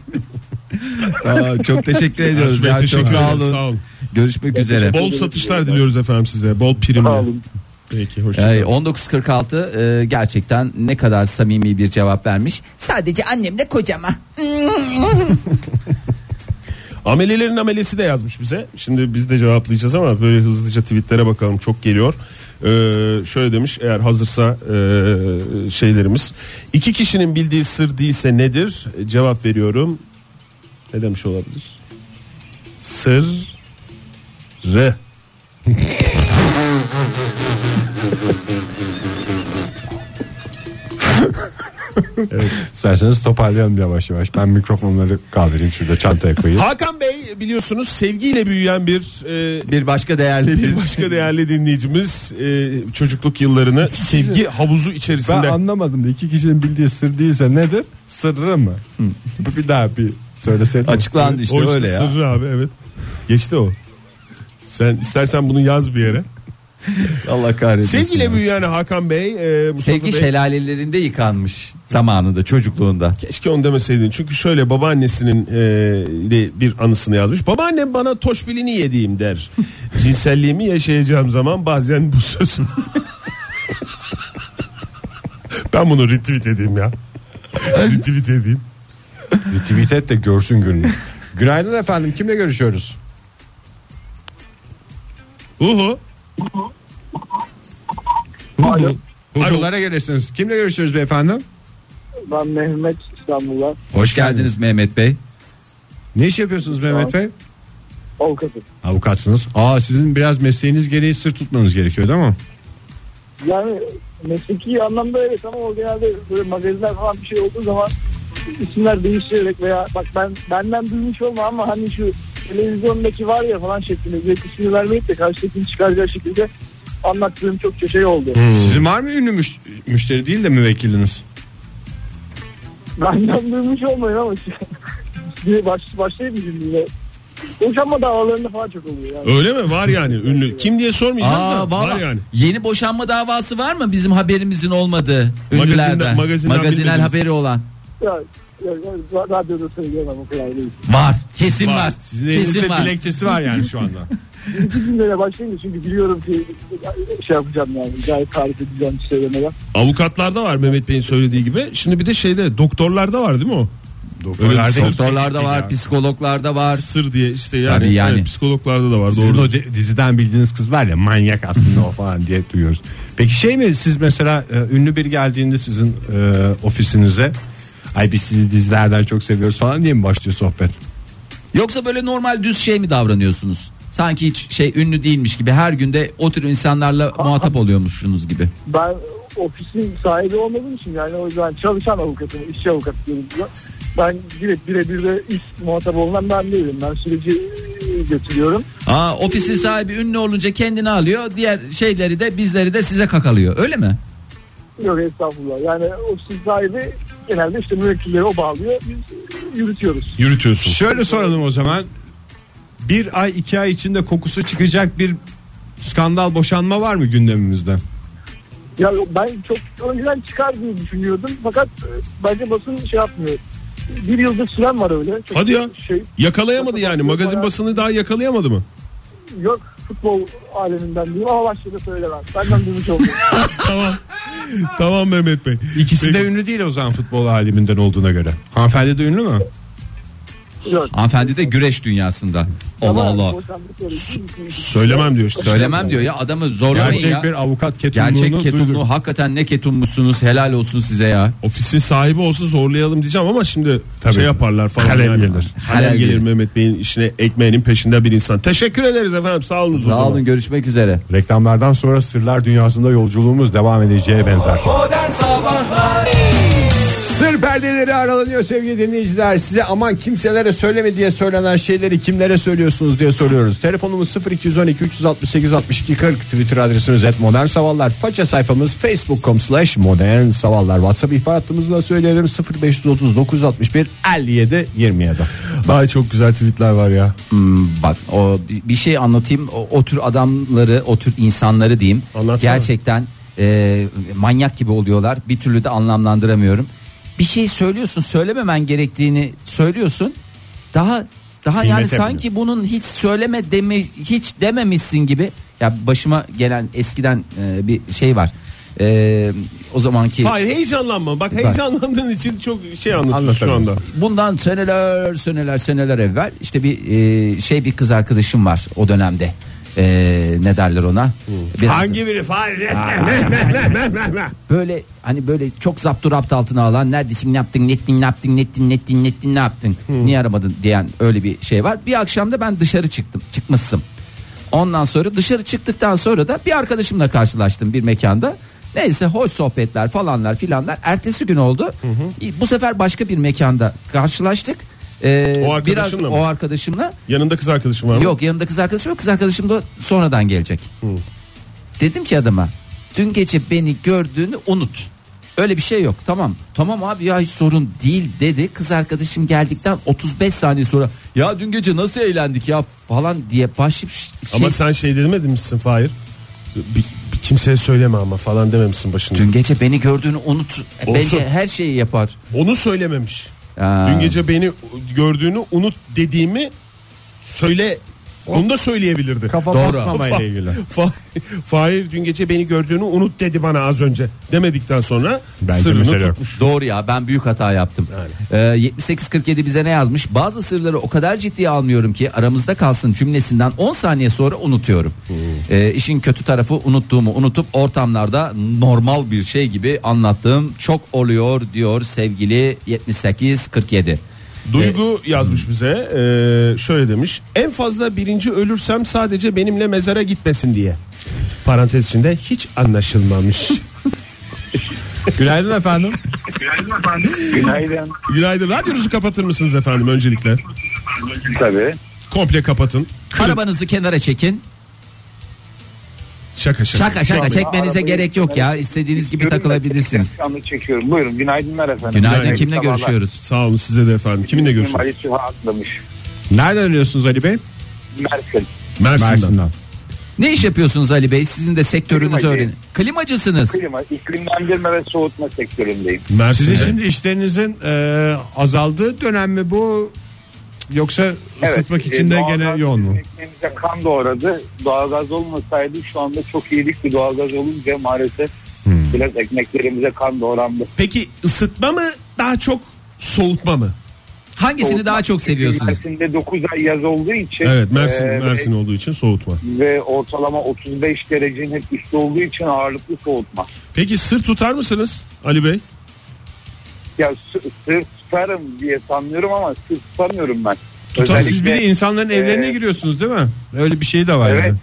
[SPEAKER 3] Tamam, çok teşekkür ediyoruz.
[SPEAKER 4] Ersu Bey,
[SPEAKER 3] ya,
[SPEAKER 4] teşekkür
[SPEAKER 3] çok sağ
[SPEAKER 4] ederiz.
[SPEAKER 3] olun.
[SPEAKER 4] Sağ olun.
[SPEAKER 3] Görüşmek üzere.
[SPEAKER 4] Bol satışlar diliyoruz efendim size. Bol
[SPEAKER 5] Sağ
[SPEAKER 4] primli.
[SPEAKER 5] olun.
[SPEAKER 4] Peki hoşçakalın.
[SPEAKER 3] Yani 1946 e, gerçekten ne kadar samimi bir cevap vermiş. Sadece annemle kocama.
[SPEAKER 4] Amelelerin amelesi de yazmış bize. Şimdi biz de cevaplayacağız ama böyle hızlıca tweetlere bakalım çok geliyor. Ee, şöyle demiş eğer hazırsa e, şeylerimiz. İki kişinin bildiği sır değilse nedir? E, Cevap veriyorum. Ne demiş olabilir? Sır rı.
[SPEAKER 2] İsterseniz toparlayalım yavaş yavaş. Ben mikrofonları kaldırayım şurada çantaya koyayım.
[SPEAKER 4] Hakan Bey biliyorsunuz sevgiyle büyüyen bir e,
[SPEAKER 3] Bir başka değerli bir.
[SPEAKER 4] bir başka değerli dinleyicimiz e, çocukluk yıllarını sevgi havuzu
[SPEAKER 2] Ben
[SPEAKER 4] içerisinde
[SPEAKER 2] anlamadım da iki kişinin bildiği sır değilse nedir? Sırrı mı? Bu bir daha bir söyleseydin.
[SPEAKER 3] Açıklandı işte
[SPEAKER 4] O
[SPEAKER 3] öyle ya.
[SPEAKER 4] Sırrı abi evet. Geçti o. Sen istersen bunu yaz bir yere.
[SPEAKER 3] Allah kahretsin.
[SPEAKER 4] Sevgiyle
[SPEAKER 3] ya.
[SPEAKER 4] büyüyen Hakan Bey, e, Mustafa
[SPEAKER 3] Sevgi şey-
[SPEAKER 4] Bey.
[SPEAKER 3] şelalelerinde yıkanmış zamanında çocukluğunda.
[SPEAKER 4] Keşke onu demeseydin. Çünkü şöyle babaannesinin e, ile bir anısını yazmış. Babaannem bana toşbilini yediğim der. Cinselliğimi yaşayacağım zaman bazen bu söz. ben bunu retweet edeyim ya. retweet edeyim.
[SPEAKER 2] Retweet et de görsün gününü. Günaydın efendim kimle görüşüyoruz?
[SPEAKER 4] Uhu.
[SPEAKER 5] Alo,
[SPEAKER 2] Huzurlara gelirsiniz. Kimle görüşüyoruz beyefendi?
[SPEAKER 5] ben Mehmet İstanbul'dan.
[SPEAKER 3] Hoş geldiniz Mehmet Bey.
[SPEAKER 2] Ne iş yapıyorsunuz Mehmet Bey?
[SPEAKER 5] Avukatım.
[SPEAKER 2] Avukatsınız. Aa sizin biraz mesleğiniz gereği sır tutmanız gerekiyor değil mi?
[SPEAKER 5] Yani mesleki anlamda evet ama o genelde böyle magazinler falan bir şey olduğu zaman isimler değiştirerek veya bak ben benden duymuş olma ama hani şu televizyondaki var ya falan şeklinde direkt ismini vermeyip de karşıdakini çıkaracağı şekilde anlattığım çokça şey oldu.
[SPEAKER 2] Sizin var mı ünlü müş- müşteri değil de müvekkiliniz?
[SPEAKER 5] Benden duymuş olmayın ama diye baş, başlayayım mı cümleye? Boşanma davalarında falan çok oluyor yani.
[SPEAKER 4] Öyle mi? Var yani ünlü. Kim diye sormayacağız
[SPEAKER 3] Aa,
[SPEAKER 4] da var
[SPEAKER 3] valla-
[SPEAKER 4] yani.
[SPEAKER 3] Yeni boşanma davası var mı bizim haberimizin olmadığı
[SPEAKER 4] Magazinden-
[SPEAKER 3] ünlülerden?
[SPEAKER 4] magazinden
[SPEAKER 3] Magazinel
[SPEAKER 4] bilmediğimiz.
[SPEAKER 3] haberi olan.
[SPEAKER 5] Ya, ya, ya, radyoda söyleyemem o kadar değil.
[SPEAKER 3] Var. Kesin var.
[SPEAKER 2] Sizin
[SPEAKER 3] Kesin
[SPEAKER 2] elinizde
[SPEAKER 3] var.
[SPEAKER 2] dilekçesi var yani şu anda.
[SPEAKER 5] İki cümleyle başlayayım da çünkü biliyorum ki şey yapacağım yani. Gayet tarif edeceğim söylemeden.
[SPEAKER 4] Avukatlarda var Mehmet Bey'in söylediği gibi. Şimdi bir de şeyde doktorlarda var değil mi o? Öyle bir şey sır.
[SPEAKER 3] Doktorlarda var, psikologlarda var.
[SPEAKER 4] Sır diye işte yani,
[SPEAKER 3] Tabii yani.
[SPEAKER 4] evet, psikologlarda da var
[SPEAKER 2] Sizin
[SPEAKER 4] doğru.
[SPEAKER 2] o di- diziden bildiğiniz kız var ya manyak aslında o falan diye duyuyoruz. Peki şey mi siz mesela e, ünlü biri geldiğinde sizin e, ofisinize ay biz sizi dizilerden çok seviyoruz falan diye mi başlıyor sohbet?
[SPEAKER 3] Yoksa böyle normal düz şey mi davranıyorsunuz? Sanki hiç şey ünlü değilmiş gibi her günde o tür insanlarla muhatap oluyormuşsunuz gibi.
[SPEAKER 5] Ben ofisin sahibi olmadığım için yani o yüzden çalışan avukatım, işçi avukatı diyoruz buna. Ben direkt birebir de iş muhatabı olunan ben değilim. Ben süreci e, götürüyorum.
[SPEAKER 3] Aa, ofisin sahibi ünlü olunca kendini alıyor. Diğer şeyleri de bizleri de size kakalıyor. Öyle mi?
[SPEAKER 5] Yok estağfurullah. Yani ofisin sahibi genelde işte müvekkilleri o bağlıyor. Biz e, yürütüyoruz.
[SPEAKER 4] Yürütüyorsun.
[SPEAKER 2] Şöyle soralım o zaman. Bir ay iki ay içinde kokusu çıkacak bir skandal boşanma var mı gündemimizde?
[SPEAKER 5] Ya ben çok önceden çıkar diye düşünüyordum. Fakat e, bence basın şey yapmıyor. Bir yıldır süren var öyle. Çok
[SPEAKER 4] Hadi ya.
[SPEAKER 5] Şey,
[SPEAKER 4] Yakalayamadı yani. Magazin basını daha yakalayamadı mı?
[SPEAKER 5] yok futbol aleminden diyeyim ama başka da söylemem. Benden duymuş oldum.
[SPEAKER 4] tamam. Tamam Mehmet Bey.
[SPEAKER 2] İkisi
[SPEAKER 4] Peki.
[SPEAKER 2] de E, ünlü değil o zaman futbol aliminden olduğuna göre. Hanımefendi de ünlü mü?
[SPEAKER 5] Yok.
[SPEAKER 3] Hanımefendi de güreş dünyasında. Allah
[SPEAKER 5] Ama
[SPEAKER 3] Allah.
[SPEAKER 5] boşanmak öyle.
[SPEAKER 4] Söylemem diyor işte.
[SPEAKER 3] Söylemem diyor ya adamı zorlamayın
[SPEAKER 2] Gerçek
[SPEAKER 3] ya.
[SPEAKER 2] bir avukat ketumluğunu
[SPEAKER 3] Gerçek
[SPEAKER 2] duyduk.
[SPEAKER 3] ketumlu hakikaten ne ketumlusunuz helal olsun size ya.
[SPEAKER 4] Ofisin sahibi olsa zorlayalım diyeceğim ama şimdi
[SPEAKER 2] Tabii.
[SPEAKER 4] şey yaparlar falan.
[SPEAKER 2] Kalem
[SPEAKER 4] yani.
[SPEAKER 2] gelir.
[SPEAKER 4] Kalem
[SPEAKER 3] Kalem
[SPEAKER 4] gelir
[SPEAKER 3] gelir.
[SPEAKER 4] Mehmet Bey'in işine ekmeğinin peşinde bir insan. Teşekkür ederiz efendim. Sağ olun.
[SPEAKER 3] Sağ olun görüşmek üzere.
[SPEAKER 2] Reklamlardan sonra sırlar dünyasında yolculuğumuz devam edeceğe benzer.
[SPEAKER 1] Modern Sabahlar
[SPEAKER 2] Sır perdeleri aralanıyor sevgili dinleyiciler. Size aman kimselere söyleme diye söylenen şeyleri kimlere söylüyorsunuz diye soruyoruz. Telefonumuz 0212 368 62 40 Twitter adresimiz et modern savallar. Faça sayfamız facebook.com slash modern savallar. Whatsapp ihbar hattımızla söyleyelim 0530 961 57 27.
[SPEAKER 4] Ay çok güzel tweetler var ya.
[SPEAKER 3] Hmm, bak o bi- bir şey anlatayım o, o tür adamları o tür insanları diyeyim
[SPEAKER 4] Anlatsana.
[SPEAKER 3] gerçekten e, manyak gibi oluyorlar bir türlü de anlamlandıramıyorum bir şey söylüyorsun söylememen gerektiğini söylüyorsun daha daha yani
[SPEAKER 4] Kıymete
[SPEAKER 3] sanki bunun hiç söyleme demi hiç dememişsin gibi ya başıma gelen eskiden e, bir şey var E, o zamanki
[SPEAKER 4] Hayır heyecanlanma. Bak heyecanlandığın için çok şey anlatıyorsun şu
[SPEAKER 2] Anlatamam.
[SPEAKER 4] anda.
[SPEAKER 3] Bundan seneler seneler seneler evvel işte bir e, şey bir kız arkadaşım var o dönemde. E, ne derler ona? Biraz
[SPEAKER 4] biri fare?
[SPEAKER 3] Böyle hani böyle çok zapturapt altına alan neredesin ne yaptın ne ettin ne yaptın ne ettin ne ettin ne ettin ne yaptın
[SPEAKER 4] Hmm.
[SPEAKER 3] niye aramadın diyen öyle bir şey var. Bir akşam da ben dışarı çıktım çıkmışsın. Ondan sonra dışarı çıktıktan sonra da bir arkadaşımla karşılaştım bir mekanda. Neyse hoş sohbetler falanlar filanlar. Ertesi gün oldu. Bu sefer başka bir mekanda karşılaştık. Ee,
[SPEAKER 4] O arkadaşınla
[SPEAKER 3] biraz-
[SPEAKER 4] mı?
[SPEAKER 3] O arkadaşımla.
[SPEAKER 4] Yanında kız arkadaşım var mı?
[SPEAKER 3] Yok yanında kız arkadaşım yok. Kız arkadaşım da sonradan gelecek. Dedim ki adama dün gece beni gördüğünü unut. Öyle bir şey yok tamam. Tamam abi ya hiç sorun değil dedi. Kız arkadaşım geldikten 35 saniye sonra ya dün gece nasıl eğlendik ya falan diye başlayıp ş- şey,
[SPEAKER 4] Ama sen şey demedin misin Fahir? Bir, bir kimseye söyleme ama falan dememişsin başında.
[SPEAKER 3] dün gece beni gördüğünü unut. E,
[SPEAKER 4] Olsun.
[SPEAKER 3] Bence her şeyi yapar.
[SPEAKER 4] Onu söylememiş.
[SPEAKER 3] Aa.
[SPEAKER 4] Dün gece beni gördüğünü unut dediğimi söyle onu da söyleyebilirdi.
[SPEAKER 2] Kafa
[SPEAKER 4] Doğru.
[SPEAKER 2] basmamayla
[SPEAKER 4] Fa-
[SPEAKER 2] ilgili.
[SPEAKER 4] Fa- Fahir dün gece beni gördüğünü unut dedi bana az önce. Demedikten sonra
[SPEAKER 2] Bence mesele
[SPEAKER 4] sırrını
[SPEAKER 2] yok.
[SPEAKER 4] tutmuş.
[SPEAKER 3] Doğru ya ben büyük hata yaptım. Ee, 7847 bize ne yazmış? Bazı sırları o kadar ciddiye almıyorum ki aramızda kalsın cümlesinden 10 saniye sonra unutuyorum. Ee, işin kötü tarafı unuttuğumu unutup ortamlarda normal bir şey gibi anlattığım çok oluyor diyor sevgili 7847.
[SPEAKER 4] Duygu
[SPEAKER 2] E,
[SPEAKER 4] yazmış bize ee, şöyle demiş en fazla birinci ölürsem sadece benimle mezara gitmesin diye. Parantez içinde hiç anlaşılmamış.
[SPEAKER 2] Günaydın efendim.
[SPEAKER 6] Günaydın.
[SPEAKER 4] Günaydın radyonuzu kapatır mısınız efendim öncelikle?
[SPEAKER 6] Tabii.
[SPEAKER 4] Komple kapatın.
[SPEAKER 3] Arabanızı kenara çekin.
[SPEAKER 4] Şaka şaka.
[SPEAKER 3] Şaka şaka çekmenize
[SPEAKER 6] arabayı-
[SPEAKER 3] gerek yok ya. İstediğiniz gibi takılabilirsiniz.
[SPEAKER 6] Anı çekiyorum. Buyurun günaydınlar efendim.
[SPEAKER 3] Günaydın
[SPEAKER 4] Günaydın.
[SPEAKER 3] kimle
[SPEAKER 6] Sabahlar.
[SPEAKER 3] görüşüyoruz?
[SPEAKER 4] Sağ olun size de efendim. Kiminle
[SPEAKER 6] İsmim
[SPEAKER 4] görüşüyoruz?
[SPEAKER 6] Ali Süha atlamış.
[SPEAKER 2] Nereden arıyorsunuz Ali Bey?
[SPEAKER 6] Mersin.
[SPEAKER 4] Mersin'den.
[SPEAKER 2] Mersin'den.
[SPEAKER 3] Ne iş yapıyorsunuz Ali Bey? Sizin de sektörünüzü
[SPEAKER 6] Klimacı.
[SPEAKER 3] öğrenin. Klimacısınız.
[SPEAKER 6] Klima, iklimlendirme ve soğutma sektöründeyim.
[SPEAKER 4] Mersin'de.
[SPEAKER 2] Sizin şimdi işlerinizin e, azaldığı dönem mi bu? Yoksa ısıtmak için
[SPEAKER 6] e,
[SPEAKER 2] de
[SPEAKER 6] doğalgaz
[SPEAKER 2] gene yoğun mu?
[SPEAKER 6] ekmeğimize kan doğradı. Doğalgaz olmasaydı şu anda çok iyiydik ki doğalgaz olunca maalesef
[SPEAKER 2] Hmm.
[SPEAKER 6] biraz ekmeklerimize kan doğrandı.
[SPEAKER 4] Peki ısıtma mı daha çok soğutma mı?
[SPEAKER 3] Hangisini daha çok seviyorsunuz?
[SPEAKER 6] Mersin'de 9 ay yaz olduğu için
[SPEAKER 4] Evet Mersin
[SPEAKER 6] e,
[SPEAKER 4] Mersin olduğu için soğutma.
[SPEAKER 6] ve ortalama 35 derecenin hep üstü olduğu için ağırlıklı soğutma.
[SPEAKER 4] Peki sır tutar mısınız Ali Bey?
[SPEAKER 6] Ya sı- sır tutarım diye sanıyorum ama sır tutamıyorum ben.
[SPEAKER 2] Tutar, siz bir de
[SPEAKER 6] Özellikle-
[SPEAKER 2] insanların evlerine
[SPEAKER 6] e,
[SPEAKER 2] giriyorsunuz değil mi? Öyle bir şey de var.
[SPEAKER 6] Evet.
[SPEAKER 2] yani.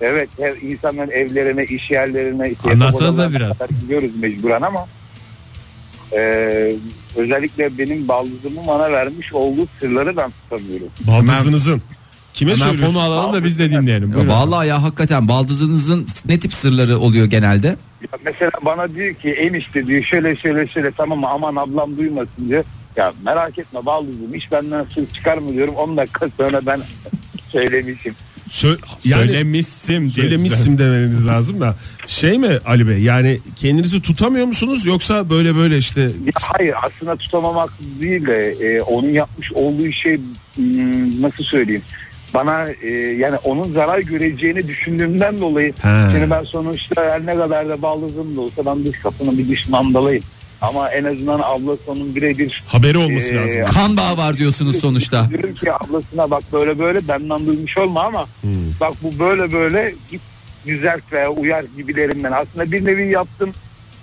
[SPEAKER 6] Evet her insanların evlerine, iş yerlerine işte
[SPEAKER 2] Anlatsanıza
[SPEAKER 6] yatak odalarına
[SPEAKER 2] biraz.
[SPEAKER 6] kadar gidiyoruz mecburen ama e, özellikle benim baldızımın bana vermiş olduğu sırları ben tutamıyorum.
[SPEAKER 4] Baldızınızın. Kime
[SPEAKER 2] Hemen
[SPEAKER 4] söylüyorsun?
[SPEAKER 2] fonu alalım da biz de dinleyelim. Buyurun.
[SPEAKER 3] Vallahi ya hakikaten baldızınızın ne tip sırları oluyor genelde?
[SPEAKER 6] Ya mesela bana diyor ki enişte diyor şöyle şöyle şöyle tamam mı aman ablam duymasın diyor. Ya merak etme baldızım hiç benden sır çıkar mı diyorum 10 dakika sonra ben söylemişim.
[SPEAKER 4] Sö- yani
[SPEAKER 2] söylemişsin. diye-
[SPEAKER 4] söylemişsin demeniz lazım da şey mi Ali Bey yani kendinizi tutamıyor musunuz yoksa böyle böyle işte
[SPEAKER 6] Ya hayır aslında tutamamak değil de e, onun yapmış olduğu şey hmm, nasıl söyleyeyim bana e, yani onun zarar göreceğini düşündüğümden dolayı
[SPEAKER 4] He.
[SPEAKER 6] şimdi ben sonuçta her ne kadar da baldızım da olsa ben dış kapının bir dış mandalayım. Ama en azından ablasının birebir
[SPEAKER 4] haberi olması
[SPEAKER 6] Ee,
[SPEAKER 4] lazım.
[SPEAKER 3] Kan bağı var diyorsunuz sonuçta.
[SPEAKER 6] Diyorum ki ablasına bak böyle böyle benden duymuş olma ama bak bu böyle böyle git düzelt veya uyar gibilerinden. Aslında bir nevi yaptım.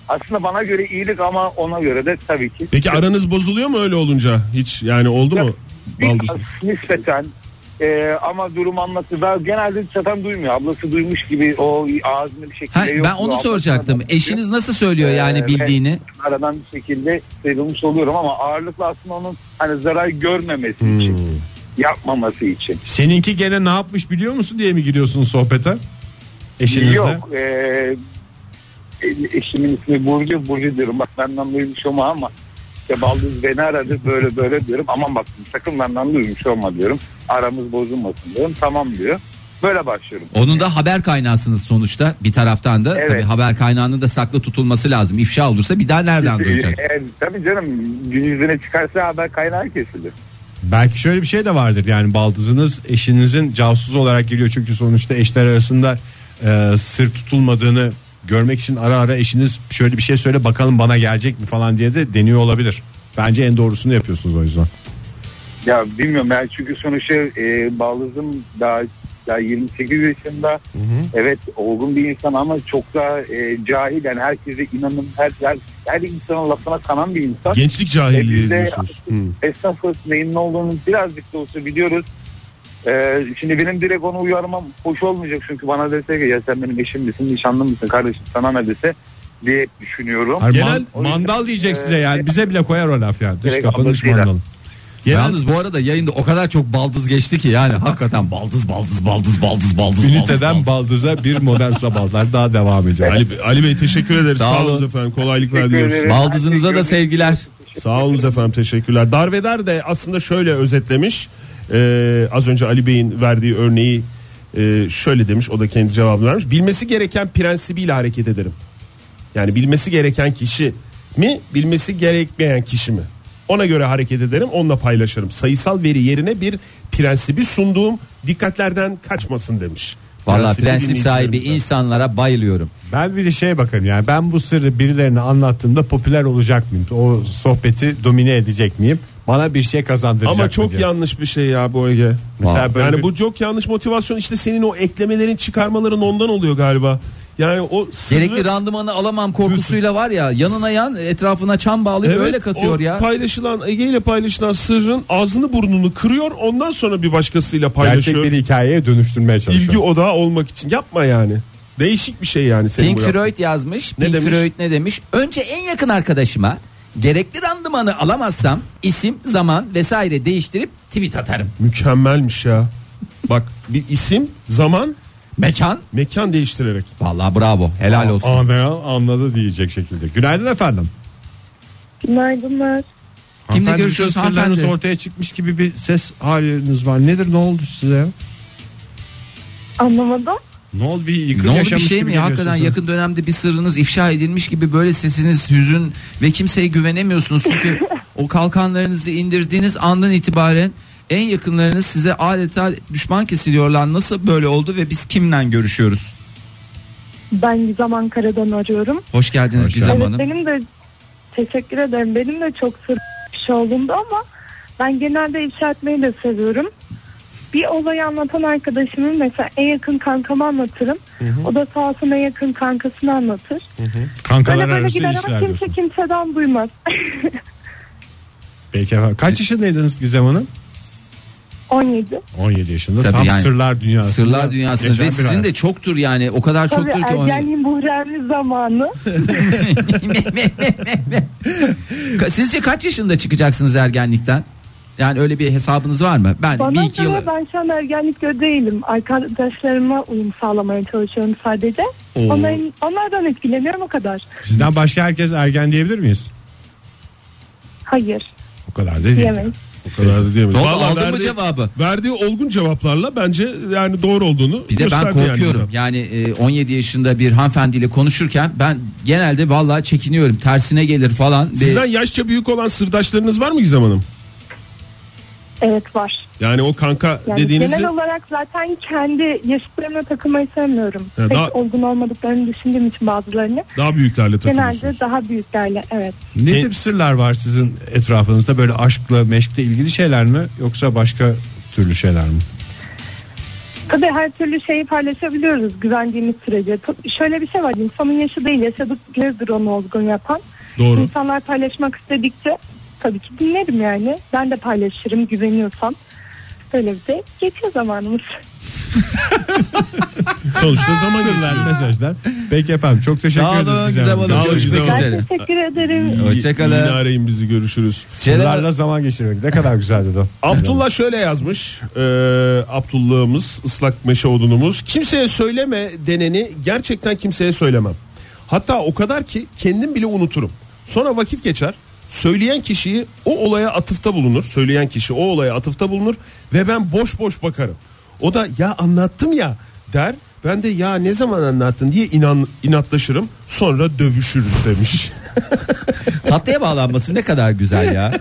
[SPEAKER 6] Aslında bana göre iyilik ama ona göre de tabii ki.
[SPEAKER 4] Peki aranız bozuluyor mu öyle olunca hiç yani oldu mu?
[SPEAKER 6] Biraz
[SPEAKER 4] Baldızınız?
[SPEAKER 6] nispeten e, ama durum anlattı. Ben genelde zaten duymuyor. Ablası duymuş gibi o ağzını bir şekilde
[SPEAKER 3] Ha,
[SPEAKER 6] yok.
[SPEAKER 3] ben onu soracaktım. Eşiniz nasıl söylüyor yani
[SPEAKER 6] Ee,
[SPEAKER 3] bildiğini?
[SPEAKER 6] aradan bir şekilde sıyrılmış oluyorum ama ağırlıklı aslında onun hani zarar görmemesi
[SPEAKER 4] Hmm.
[SPEAKER 6] için yapmaması için.
[SPEAKER 2] Seninki gene ne yapmış biliyor musun diye mi giriyorsun sohbete? Eşinizle.
[SPEAKER 6] Yok. eee, e, eşimin ismi Burcu. Burcu diyorum. Bak benden duymuş olma ama işte baldız beni aradı böyle böyle diyorum. Aman bak sakın benden duymuş olma diyorum. Aramız bozulmasın diyorum. Tamam diyor. Böyle başlıyorum.
[SPEAKER 3] Onun da haber kaynağısınız sonuçta bir taraftan da
[SPEAKER 6] Evet.
[SPEAKER 3] tabii haber kaynağının da saklı tutulması lazım. İfşa olursa bir daha nereden duyacak?
[SPEAKER 6] Eğer- E, tabii canım gün yüzüne çıkarsa haber kaynağı kesilir.
[SPEAKER 2] Belki şöyle bir şey de vardır yani baldızınız eşinizin casus olarak geliyor çünkü sonuçta eşler arasında e, sır tutulmadığını görmek için ara ara eşiniz şöyle bir şey söyle bakalım bana gelecek mi falan diye de deniyor olabilir. Bence en doğrusunu yapıyorsunuz o yüzden.
[SPEAKER 6] Ya bilmiyorum ben çünkü sonuçta e, baldızım daha, daha 28 yaşında. Evet olgun bir insan ama çok da e, cahil yani herkese inanın her, her, her insanın lafına kanan bir insan. E,
[SPEAKER 4] Gençlik cahilliği
[SPEAKER 6] Biz de-
[SPEAKER 4] diyorsunuz. Hmm.
[SPEAKER 6] esnafız neyin ne olduğunu birazcık da olsa biliyoruz. Ee, şimdi benim direkt onu uyarmam hoş olmayacak çünkü bana dese ki ya sen benim eşim misin nişanlım mısın kardeşim sana ne dese diye düşünüyorum.
[SPEAKER 2] Hayır,
[SPEAKER 4] Genel-
[SPEAKER 2] man- mandal diyecek size yani
[SPEAKER 6] Ee,
[SPEAKER 2] bize bile koyar o laf yani dış
[SPEAKER 6] direkt
[SPEAKER 2] kapının dış
[SPEAKER 6] ablasıyla.
[SPEAKER 2] mandalın.
[SPEAKER 3] Yalnız bu arada yayında o kadar çok baldız geçti ki yani hakikaten baldız baldız baldız baldız baldız.
[SPEAKER 2] Üniteden
[SPEAKER 3] baldız,
[SPEAKER 2] baldıza bir modern sabahlar daha devam ediyor. Ali-
[SPEAKER 4] Ali, Ali Bey teşekkür ederiz.
[SPEAKER 3] Sağ
[SPEAKER 4] Sağ,
[SPEAKER 3] olun.
[SPEAKER 4] olun efendim. Kolaylıklar
[SPEAKER 6] Teşekkür
[SPEAKER 4] diliyoruz.
[SPEAKER 6] ederim.
[SPEAKER 3] Baldızınıza da sevgiler.
[SPEAKER 4] Sağ olun efendim teşekkürler. Darveder de aslında şöyle özetlemiş. Ee, az önce Ali Bey'in verdiği örneği e, şöyle demiş. O da kendi cevabını vermiş. Bilmesi gereken prensibiyle hareket ederim. Yani bilmesi gereken kişi mi bilmesi gerekmeyen kişi mi? Ona göre hareket ederim onunla paylaşırım. Sayısal veri yerine bir prensibi sunduğum dikkatlerden kaçmasın demiş.
[SPEAKER 3] Vallahi
[SPEAKER 4] Prensipli
[SPEAKER 3] prensip sahibi
[SPEAKER 4] dinleyicilerimizden.
[SPEAKER 3] insanlara bayılıyorum.
[SPEAKER 2] Ben bir de şeye bakarım yani ben bu sırrı birilerine anlattığımda popüler olacak mıyım? O sohbeti domine edecek miyim? Bana bir şey kazandıracak
[SPEAKER 4] Ama
[SPEAKER 2] mı
[SPEAKER 4] çok
[SPEAKER 2] diye.
[SPEAKER 4] yanlış bir şey ya bu Ege.
[SPEAKER 2] Mesela böyle
[SPEAKER 4] yani
[SPEAKER 2] bir-
[SPEAKER 4] bu çok yanlış motivasyon işte senin o eklemelerin çıkarmaların ondan oluyor galiba. Yani o sırrı-
[SPEAKER 3] Gerekli randımanı alamam korkusuyla var ya yanına yan etrafına çam bağlayıp
[SPEAKER 4] Evet,
[SPEAKER 3] öyle katıyor
[SPEAKER 4] o
[SPEAKER 3] ya.
[SPEAKER 4] Paylaşılan Ege ile paylaşılan sırrın ağzını burnunu kırıyor ondan sonra bir başkasıyla
[SPEAKER 2] Gerçek
[SPEAKER 4] paylaşıyor.
[SPEAKER 2] bir hikayeye dönüştürmeye çalışıyorum.
[SPEAKER 4] İlgi odağı olmak için yapma yani. Değişik bir şey yani senin
[SPEAKER 3] Pink
[SPEAKER 4] bu yaptığın.
[SPEAKER 3] Floyd yazmış.
[SPEAKER 4] Ne
[SPEAKER 3] Pink
[SPEAKER 4] demiş?
[SPEAKER 3] Floyd ne demiş? Önce en yakın arkadaşıma gerekli randımanı alamazsam isim, zaman vesaire değiştirip tweet atarım.
[SPEAKER 4] Mükemmelmiş ya. Bak bir isim, zaman,
[SPEAKER 3] Mekan
[SPEAKER 4] mekan değiştirerek.
[SPEAKER 3] vallahi bravo. Helal olsun.
[SPEAKER 2] Anlayan anladı diyecek şekilde. Günaydın efendim.
[SPEAKER 7] Günaydınlar.
[SPEAKER 3] Kimle
[SPEAKER 2] Hanımefendi, şey
[SPEAKER 3] görüşüyoruz
[SPEAKER 2] bütün sırlarınız
[SPEAKER 3] hanımefendi?
[SPEAKER 2] ortaya çıkmış gibi bir ses haliniz var. Nedir ne oldu size?
[SPEAKER 7] Anlamadım.
[SPEAKER 2] Ne oldu bir yıkım
[SPEAKER 3] Ne oldu bir
[SPEAKER 2] yaşamış
[SPEAKER 3] şey
[SPEAKER 2] gibi
[SPEAKER 3] mi? Hakikaten
[SPEAKER 2] geliyorsunuz.
[SPEAKER 3] yakın dönemde bir sırrınız ifşa edilmiş gibi böyle sesiniz hüzün ve kimseye güvenemiyorsunuz. Çünkü o kalkanlarınızı indirdiğiniz andan itibaren en yakınlarınız size adeta düşman kesiliyorlar. Nasıl böyle oldu ve biz kimle görüşüyoruz?
[SPEAKER 7] Ben Gizem Ankara'dan arıyorum.
[SPEAKER 3] Hoş geldiniz
[SPEAKER 2] Hoş
[SPEAKER 3] Gizem
[SPEAKER 7] evet
[SPEAKER 3] Hanım.
[SPEAKER 7] benim de teşekkür ederim. Benim de çok sır bir şey olundu ama ben genelde ifşa etmeyi de seviyorum. Bir olayı anlatan arkadaşımın mesela en yakın kankama anlatırım. O da sağ olsun en yakın kankasını anlatır.
[SPEAKER 2] Kankalar
[SPEAKER 7] böyle böyle
[SPEAKER 2] arası
[SPEAKER 7] gider ama
[SPEAKER 2] ilişkiler
[SPEAKER 7] kimse
[SPEAKER 2] diyorsun.
[SPEAKER 7] kimseden duymaz.
[SPEAKER 2] Peki efendim. Kaç yaşındaydınız Gizem Hanım?
[SPEAKER 7] 17.
[SPEAKER 2] 17 yaşında.
[SPEAKER 3] Tabii
[SPEAKER 2] Tam
[SPEAKER 3] yani
[SPEAKER 2] sırlar dünyası.
[SPEAKER 3] Sırlar dünyasında ve sizin de çoktur yani o kadar
[SPEAKER 7] Tabii
[SPEAKER 3] çoktur ki o-
[SPEAKER 7] ergenliğin buhremli zamanı.
[SPEAKER 3] Sizce kaç yaşında çıkacaksınız ergenlikten? Yani öyle bir hesabınız var mı? Ben
[SPEAKER 4] Hani
[SPEAKER 7] Bana
[SPEAKER 3] bir iki yıl...
[SPEAKER 7] göre ben şu an ergenlikte değilim. Arkadaşlarıma uyum sağlamaya çalışıyorum sadece. Onların, onlardan etkileniyorum o kadar.
[SPEAKER 8] Sizden başka herkes ergen diyebilir miyiz?
[SPEAKER 7] Hayır
[SPEAKER 8] O kadar da değil.
[SPEAKER 7] diyemeyiz.
[SPEAKER 4] O kadar da
[SPEAKER 3] Ne
[SPEAKER 4] diyemeyiz.
[SPEAKER 3] oldu,
[SPEAKER 4] Vallahi
[SPEAKER 3] aldın mı
[SPEAKER 4] verdiği-
[SPEAKER 3] cevabı?
[SPEAKER 4] Verdiği olgun cevaplarla bence yani doğru olduğunu
[SPEAKER 3] Bir de ben
[SPEAKER 4] gösterdi yani
[SPEAKER 3] korkuyorum.
[SPEAKER 4] bize.
[SPEAKER 3] Yani, e, 17 yaşında bir hanımefendiyle konuşurken ben genelde vallahi çekiniyorum. Tersine gelir falan. Bir-
[SPEAKER 4] Sizden yaşça büyük olan sırdaşlarınız var mı Gizem Hanım?
[SPEAKER 7] Evet var.
[SPEAKER 4] Yani o kanka
[SPEAKER 7] Yani
[SPEAKER 4] dediğinizi
[SPEAKER 7] genel olarak zaten kendi yaşıtlarımla takılmayı sevmiyorum.
[SPEAKER 4] Ya
[SPEAKER 7] Pek
[SPEAKER 4] daha-
[SPEAKER 7] olgun olmadıklarını düşündüğüm için bazılarını.
[SPEAKER 4] daha büyüklerle takılıyorsunuz.
[SPEAKER 7] Genelde daha büyüklerle evet.
[SPEAKER 8] Ne
[SPEAKER 4] Şey-
[SPEAKER 8] tip sırlar var sizin etrafınızda böyle aşkla meşkle ilgili şeyler mi yoksa başka türlü şeyler mi?
[SPEAKER 7] Tabii her türlü şeyi paylaşabiliyoruz güvendiğimiz sürece. T- Şöyle bir şey var insanın yaşı değil yaşadıklarıdır onu olgun yapan.
[SPEAKER 4] Doğru.
[SPEAKER 7] İnsanlar paylaşmak istedikçe tabii ki dinlerim yani. Ben de paylaşırım güveniyorsam. Böyle bir de geçiyor zamanımız.
[SPEAKER 4] Sonuçta zaman geçiyor.
[SPEAKER 8] mesajlar. Peki efendim çok teşekkür
[SPEAKER 3] Sağ
[SPEAKER 8] ederiz. Gizem
[SPEAKER 3] olun Gizem
[SPEAKER 8] Hanım.
[SPEAKER 3] Hanım.
[SPEAKER 4] Sağ olun,
[SPEAKER 3] Görüşmek
[SPEAKER 4] Gizem Hanım.
[SPEAKER 3] üzere.
[SPEAKER 7] Ben teşekkür ederim.
[SPEAKER 3] Hoşçakalın.
[SPEAKER 4] Yine arayın bizi görüşürüz.
[SPEAKER 3] Celal-
[SPEAKER 2] Sırlarla zaman geçirmek ne kadar güzeldi de.
[SPEAKER 4] Abdullah şöyle yazmış. Ee, Abdullah'ımız ıslak meşe odunumuz. Kimseye söyleme deneni gerçekten kimseye söylemem. Hatta o kadar ki kendim bile unuturum. Sonra vakit geçer. Söyleyen kişiyi o olaya atıfta bulunur. Söyleyen kişi o olaya atıfta bulunur ve ben boş boş bakarım. O da ya anlattım ya der. Ben de ya ne zaman anlattın diye inan, inatlaşırım. Sonra dövüşürüz demiş.
[SPEAKER 3] Tatlıya bağlanması ne kadar güzel ya.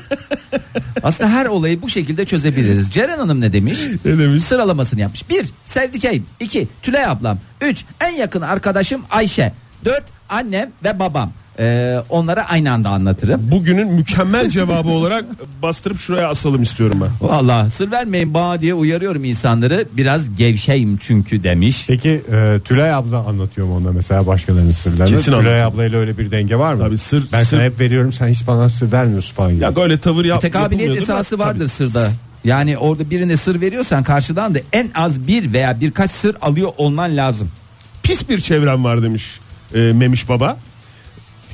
[SPEAKER 3] Aslında her olayı bu şekilde çözebiliriz. Ceren Hanım ne demiş?
[SPEAKER 4] Ne demiş?
[SPEAKER 3] Sıralamasını yapmış. 1. Sevdiceğim. 2. Tülay ablam. 3. En yakın arkadaşım Ayşe. 4. Annem ve babam. Ee, onlara aynı anda anlatırım.
[SPEAKER 4] Bugünün mükemmel cevabı olarak bastırıp şuraya asalım istiyorum ben.
[SPEAKER 3] Vallahi sır vermeyin bana diye uyarıyorum insanları. Biraz gevşeyim çünkü demiş.
[SPEAKER 2] Peki e, Tülay abla anlatıyor mu ona mesela başkalarının sırlarını?
[SPEAKER 4] Kesin
[SPEAKER 2] Tülay
[SPEAKER 4] anlatıyor.
[SPEAKER 2] ablayla öyle bir denge var mı?
[SPEAKER 4] Tabii sır-
[SPEAKER 2] ben
[SPEAKER 4] sır-
[SPEAKER 2] sana hep veriyorum sen hiç bana sır vermiyorsun falan gibi.
[SPEAKER 4] Ya böyle tavır yap.
[SPEAKER 3] Tekabiliyet
[SPEAKER 4] yapılmıyordur da-
[SPEAKER 3] E, esası vardır sırda. Yani orada birine sır veriyorsan karşıdan da en az bir veya birkaç sır alıyor olman lazım.
[SPEAKER 4] Tabii. Pis bir çevrem var demiş e, Memiş Baba.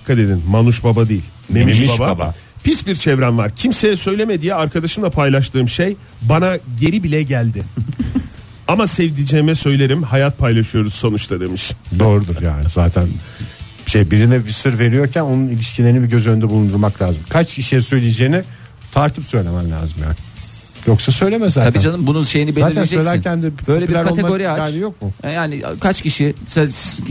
[SPEAKER 4] Dikkat edin Manuş Baba değil. Memiş,
[SPEAKER 2] Memiş
[SPEAKER 4] baba.
[SPEAKER 2] Baba.
[SPEAKER 4] Pis bir çevrem var. Kimseye söyleme diye arkadaşımla paylaştığım şey bana geri bile geldi. Ama sevdiceğime söylerim hayat paylaşıyoruz sonuçta demiş.
[SPEAKER 2] Doğrudur yani zaten şey birine bir sır veriyorken onun ilişkilerini bir göz önünde bulundurmak lazım. Kaç kişiye söyleyeceğini tartıp söylemen lazım yani. Yoksa söyleme zaten.
[SPEAKER 3] Tabii canım bunun şeyini
[SPEAKER 2] Zaten
[SPEAKER 3] belirleyeceksin.
[SPEAKER 2] söylerken de
[SPEAKER 3] böyle bir
[SPEAKER 2] popüler olma
[SPEAKER 3] kategori aç. E,
[SPEAKER 2] derdi yok mu?
[SPEAKER 3] Yani kaç kişi sen-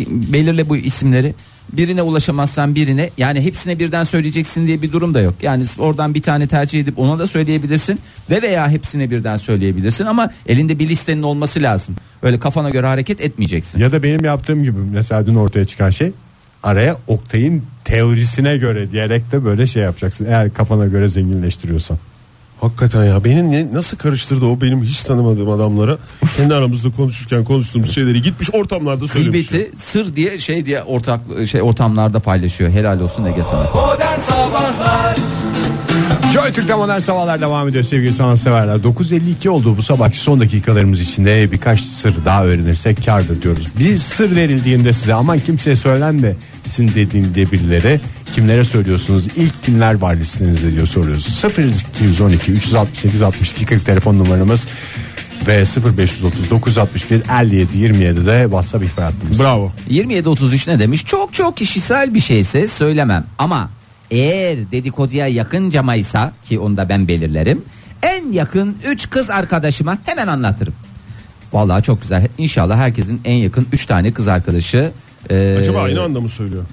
[SPEAKER 3] belirle bu isimleri. Birine ulaşamazsan birine yani hepsine birden söyleyeceksin diye bir durum da yok. Yani oradan bir tane tercih edip ona da söyleyebilirsin ve veya hepsine birden söyleyebilirsin ama elinde bir listenin olması lazım. Böyle kafana göre hareket etmeyeceksin.
[SPEAKER 2] Ya da benim yaptığım gibi mesela dün ortaya çıkan şey araya Oktay'ın teorisine göre diyerek de böyle şey yapacaksın. Eğer kafana göre zenginleştiriyorsan.
[SPEAKER 4] Hakikaten ya beni ne- nasıl karıştırdı o benim hiç tanımadığım adamlara. Kendi aramızda konuşurken konuştuğumuz şeyleri gitmiş ortamlarda söylemiş.
[SPEAKER 3] Gıybeti sır diye şey diye ortak şey ortamlarda paylaşıyor. Helal olsun Ege sana.
[SPEAKER 1] Modern Sabahlar
[SPEAKER 2] Joy Türk'te modern sabahlar devam ediyor sevgili sanatseverler. 9.52 oldu bu sabahki son dakikalarımız içinde birkaç sır daha öğrenirsek kârdır diyoruz. Bir sır verildiğinde size aman kimseye söylenmesin dediğinde birileri kimlere söylüyorsunuz ilk kimler var listenizde diyor soruyoruz. 0212 368 62 40 telefon numaramız ve 0530 961 57 27 de WhatsApp ihbar hattımız.
[SPEAKER 4] Bravo.
[SPEAKER 3] 2733 ne demiş? Çok çok kişisel bir şeyse söylemem ama eğer dedikoduya yakın camaysa ki onu da ben belirlerim. En yakın 3 kız arkadaşıma hemen anlatırım. Vallahi çok güzel. İnşallah herkesin en yakın 3 tane kız arkadaşı e,
[SPEAKER 4] Acaba aynı anda mı söylüyor?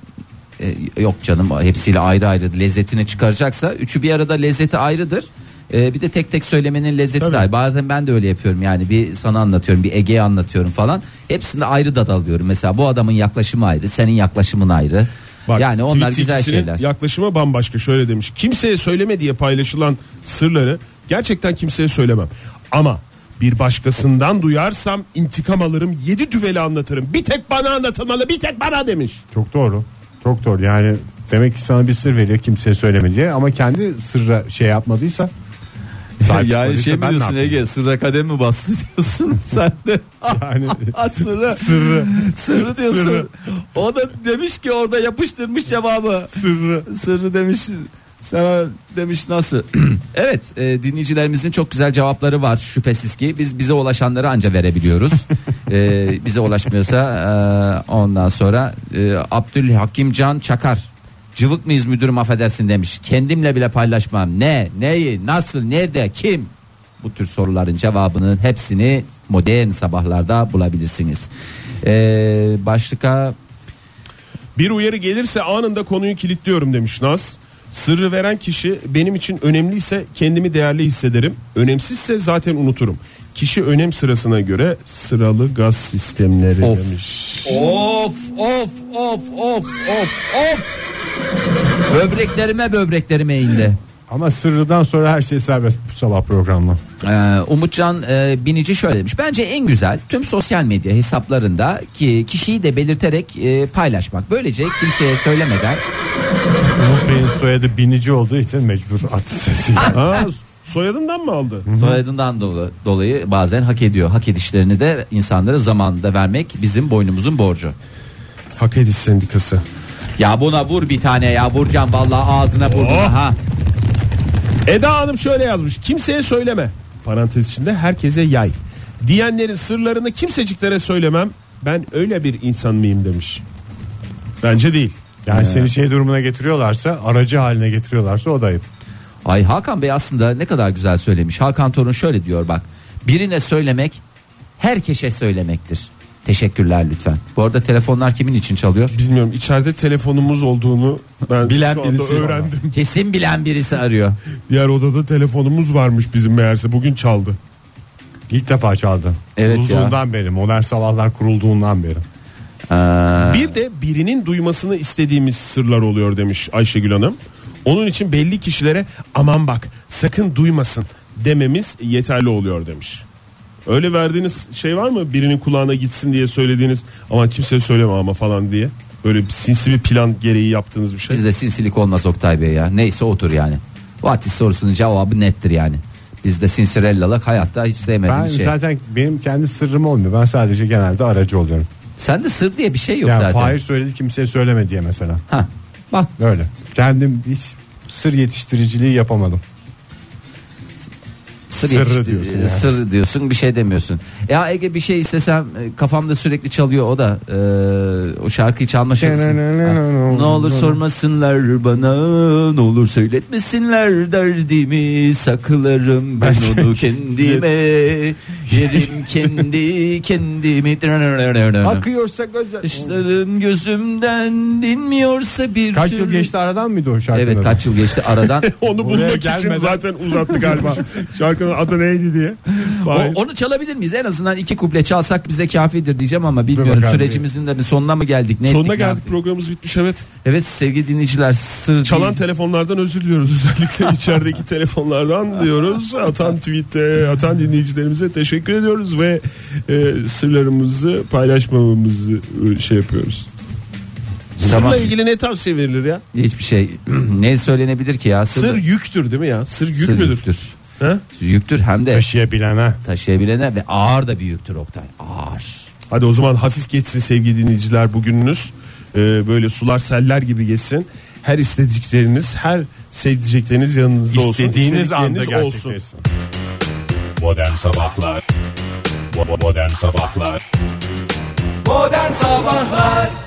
[SPEAKER 3] e, yok canım hepsiyle ayrı ayrı lezzetini çıkaracaksa üçü bir arada lezzeti ayrıdır. E, bir de tek tek söylemenin lezzeti de ayrı. Bazen ben de öyle yapıyorum yani bir sana anlatıyorum bir Ege'ye anlatıyorum falan. Hepsinde ayrı dadalıyorum. Mesela bu adamın yaklaşımı ayrı, senin yaklaşımın ayrı.
[SPEAKER 4] Bak,
[SPEAKER 3] yani onlar
[SPEAKER 4] tweet
[SPEAKER 3] güzel
[SPEAKER 4] ikisinin
[SPEAKER 3] şeyler.
[SPEAKER 4] Yaklaşımı bambaşka şöyle demiş. Kimseye söyleme diye paylaşılan sırları gerçekten kimseye söylemem. Ama bir başkasından duyarsam intikam alırım. Yedi düveli anlatırım. Bir tek bana anlatılmalı bir tek bana demiş.
[SPEAKER 2] Çok doğru. Çok doğru. Yani demek ki sana bir sır veriyor kimseye söyleme diye ama kendi sırra şey yapmadıysa sahip çıkmadıysa
[SPEAKER 3] şey
[SPEAKER 2] ben ne yapayım?
[SPEAKER 3] sırra kadem mi bastı diyorsun sen de.
[SPEAKER 2] Yani
[SPEAKER 3] sırrı.
[SPEAKER 2] sırrı
[SPEAKER 3] Sırrı diyorsun. O da demiş ki orada yapıştırmış cevabı. Sırrı. Sırrı demiş. Sana demiş nasıl? evet e, dinleyicilerimizin çok güzel cevapları var şüphesiz ki. Biz bize ulaşanları anca verebiliyoruz. E, bize ulaşmıyorsa e, ondan sonra e, Abdülhakim Can Çakar. Cıvık mıyız müdürüm affedersin demiş. Kendimle bile paylaşmam. Ne, neyi, nasıl, nerede, kim? Bu tür soruların cevabının hepsini modern sabahlarda bulabilirsiniz. E, başlıka
[SPEAKER 4] Bir uyarı gelirse anında konuyu kilitliyorum demiş Naz. Sırrı veren kişi benim için önemliyse kendimi değerli hissederim. Önemsizse zaten unuturum. Kişi önem sırasına göre sıralı gaz sistemleri
[SPEAKER 3] Of.
[SPEAKER 4] demiş.
[SPEAKER 3] Of of of of of of. Böbreklerime böbreklerime indi.
[SPEAKER 2] Ama sırrıdan sonra her şey serbest bu sabah programla.
[SPEAKER 3] Ee, Umutcan e, Binici şöyle demiş. Bence en güzel tüm sosyal medya hesaplarında ki kişiyi de belirterek e, paylaşmak. Böylece kimseye söylemeden
[SPEAKER 2] Umut Bey'in soyadı binici olduğu için mecbur at sesi.
[SPEAKER 4] Aa, soyadından mı aldı?
[SPEAKER 3] soyadından dolu- dolayı bazen hak ediyor. Hak edişlerini de insanlara zamanında vermek bizim boynumuzun borcu.
[SPEAKER 4] Hak Ediş Sendikası.
[SPEAKER 3] Ya buna vur bir tane ya vurcan vallahi ağzına burnuna
[SPEAKER 4] Oh.
[SPEAKER 3] ha.
[SPEAKER 4] Eda Hanım şöyle yazmış. Kimseye söyleme. Parantez içinde herkese yay. Diyenlerin sırlarını kimseciklere söylemem. Ben öyle bir insan mıyım demiş. Bence değil.
[SPEAKER 2] Yani seni şey durumuna getiriyorlarsa aracı haline getiriyorlarsa o da ayıp.
[SPEAKER 3] Ay Hakan Bey aslında ne kadar güzel söylemiş. Hakan Torun şöyle diyor bak. Birine söylemek herkese söylemektir. Teşekkürler lütfen. Bu arada telefonlar kimin için çalıyor?
[SPEAKER 4] Bilmiyorum içeride telefonumuz olduğunu ben
[SPEAKER 2] Bilen
[SPEAKER 4] şu anda
[SPEAKER 2] birisi var.
[SPEAKER 4] öğrendim.
[SPEAKER 3] Kesin bilen birisi arıyor.
[SPEAKER 4] Diğer odada telefonumuz varmış bizim meğerse bugün çaldı.
[SPEAKER 2] İlk defa çaldı.
[SPEAKER 3] Evet ya.
[SPEAKER 2] Kurulduğundan beri modern sabahlar kurulduğundan beri.
[SPEAKER 3] Ee.
[SPEAKER 4] Bir de birinin duymasını istediğimiz sırlar oluyor demiş Ayşegül Hanım. Onun için belli kişilere aman bak sakın duymasın dememiz yeterli oluyor demiş. Öyle verdiğiniz şey var mı? Birinin kulağına gitsin diye söylediğiniz aman kimseye söyleme ama falan diye. Böyle bir sinsi bir plan gereği yaptığınız bir şey.
[SPEAKER 3] Bizde sinsilik olmaz Oktay Bey ya. Neyse otur yani. Vatis sorusunun cevabı nettir yani. Bizde sinsirellalık hayatta hiç sevmediğim
[SPEAKER 2] Ben
[SPEAKER 3] şey.
[SPEAKER 2] zaten benim kendi sırrım olmuyor. Ben sadece genelde aracı oluyorum.
[SPEAKER 3] Sende sır diye bir şey yok
[SPEAKER 2] Yani
[SPEAKER 3] zaten.
[SPEAKER 2] Fahir söyledi kimseye söyleme diye mesela.
[SPEAKER 3] Hah, bak
[SPEAKER 2] Böyle. Kendim hiç sır yetiştiriciliği yapamadım.
[SPEAKER 3] Sır
[SPEAKER 2] Sırrı
[SPEAKER 3] yetişti-
[SPEAKER 2] diyorsun yani.
[SPEAKER 3] Sır diyorsun bir şey demiyorsun. Ya Ege bir şey istesem e, kafamda sürekli çalıyor o da. e, o şarkıyı çalma şarkısı. Ha. ne olur sormasınlar bana ne olur söyletmesinler derdimi saklarım ben onu kendime yerim kendi kendimi.
[SPEAKER 2] Akıyorsa gözler.
[SPEAKER 3] Bakışların gözümden dinmiyorsa bir
[SPEAKER 2] Kaç yıl
[SPEAKER 3] türlü-
[SPEAKER 2] geçti aradan mıydı o şarkıda?
[SPEAKER 3] Evet kaç yıl geçti aradan.
[SPEAKER 4] Onu
[SPEAKER 2] Buraya
[SPEAKER 4] bulmak için
[SPEAKER 2] gelmeden-
[SPEAKER 4] zaten uzattı galiba. Şarkının adı neydi diye. Hayır.
[SPEAKER 3] O- onu çalabilir miyiz? En azından iki kuple çalsak bize kafidir diyeceğim ama bilmiyorum
[SPEAKER 2] bakalım.
[SPEAKER 3] sürecimizin de bir sonuna mı geldik? Ne
[SPEAKER 4] Sonuna
[SPEAKER 3] ettik, ne
[SPEAKER 4] geldik
[SPEAKER 3] yaptık?
[SPEAKER 4] programımız bitmiş evet.
[SPEAKER 3] Evet sevgili dinleyiciler sır
[SPEAKER 4] Çalan
[SPEAKER 3] değil.
[SPEAKER 4] telefonlardan özür diliyoruz özellikle içerideki telefonlardan diyoruz. Atan tweette atan dinleyicilerimize teşekkür ediyoruz ve e, sırlarımızı paylaşmamamızı e, şey yapıyoruz.
[SPEAKER 3] Tamam.
[SPEAKER 4] Sırla ilgili ne tavsiye verilir ya?
[SPEAKER 3] hiçbir şey ne söylenebilir ki ya?
[SPEAKER 4] Sır,
[SPEAKER 3] Sır,
[SPEAKER 4] yüktür değil mi ya? Sır yük
[SPEAKER 3] sır
[SPEAKER 4] müdür?
[SPEAKER 3] yüktür.
[SPEAKER 4] Ha?
[SPEAKER 3] Yüktür hem de
[SPEAKER 2] Taşıyabilene.
[SPEAKER 3] taşıyabilene ve ağır da bir yüktür Oktay. Ağır.
[SPEAKER 4] Hadi o zaman hafif geçsin sevgili dinleyiciler bugününüz. E, böyle sular seller gibi geçsin. Her istedikleriniz, her sevdicekleriniz yanınızda olsun.
[SPEAKER 2] İstediğiniz anda
[SPEAKER 4] İstedikleriniz olsun.
[SPEAKER 2] gerçekleşsin.
[SPEAKER 9] Modern Sabahlar Bo- bo- Modern Sabahlar
[SPEAKER 1] Oh, Modern Sabahlar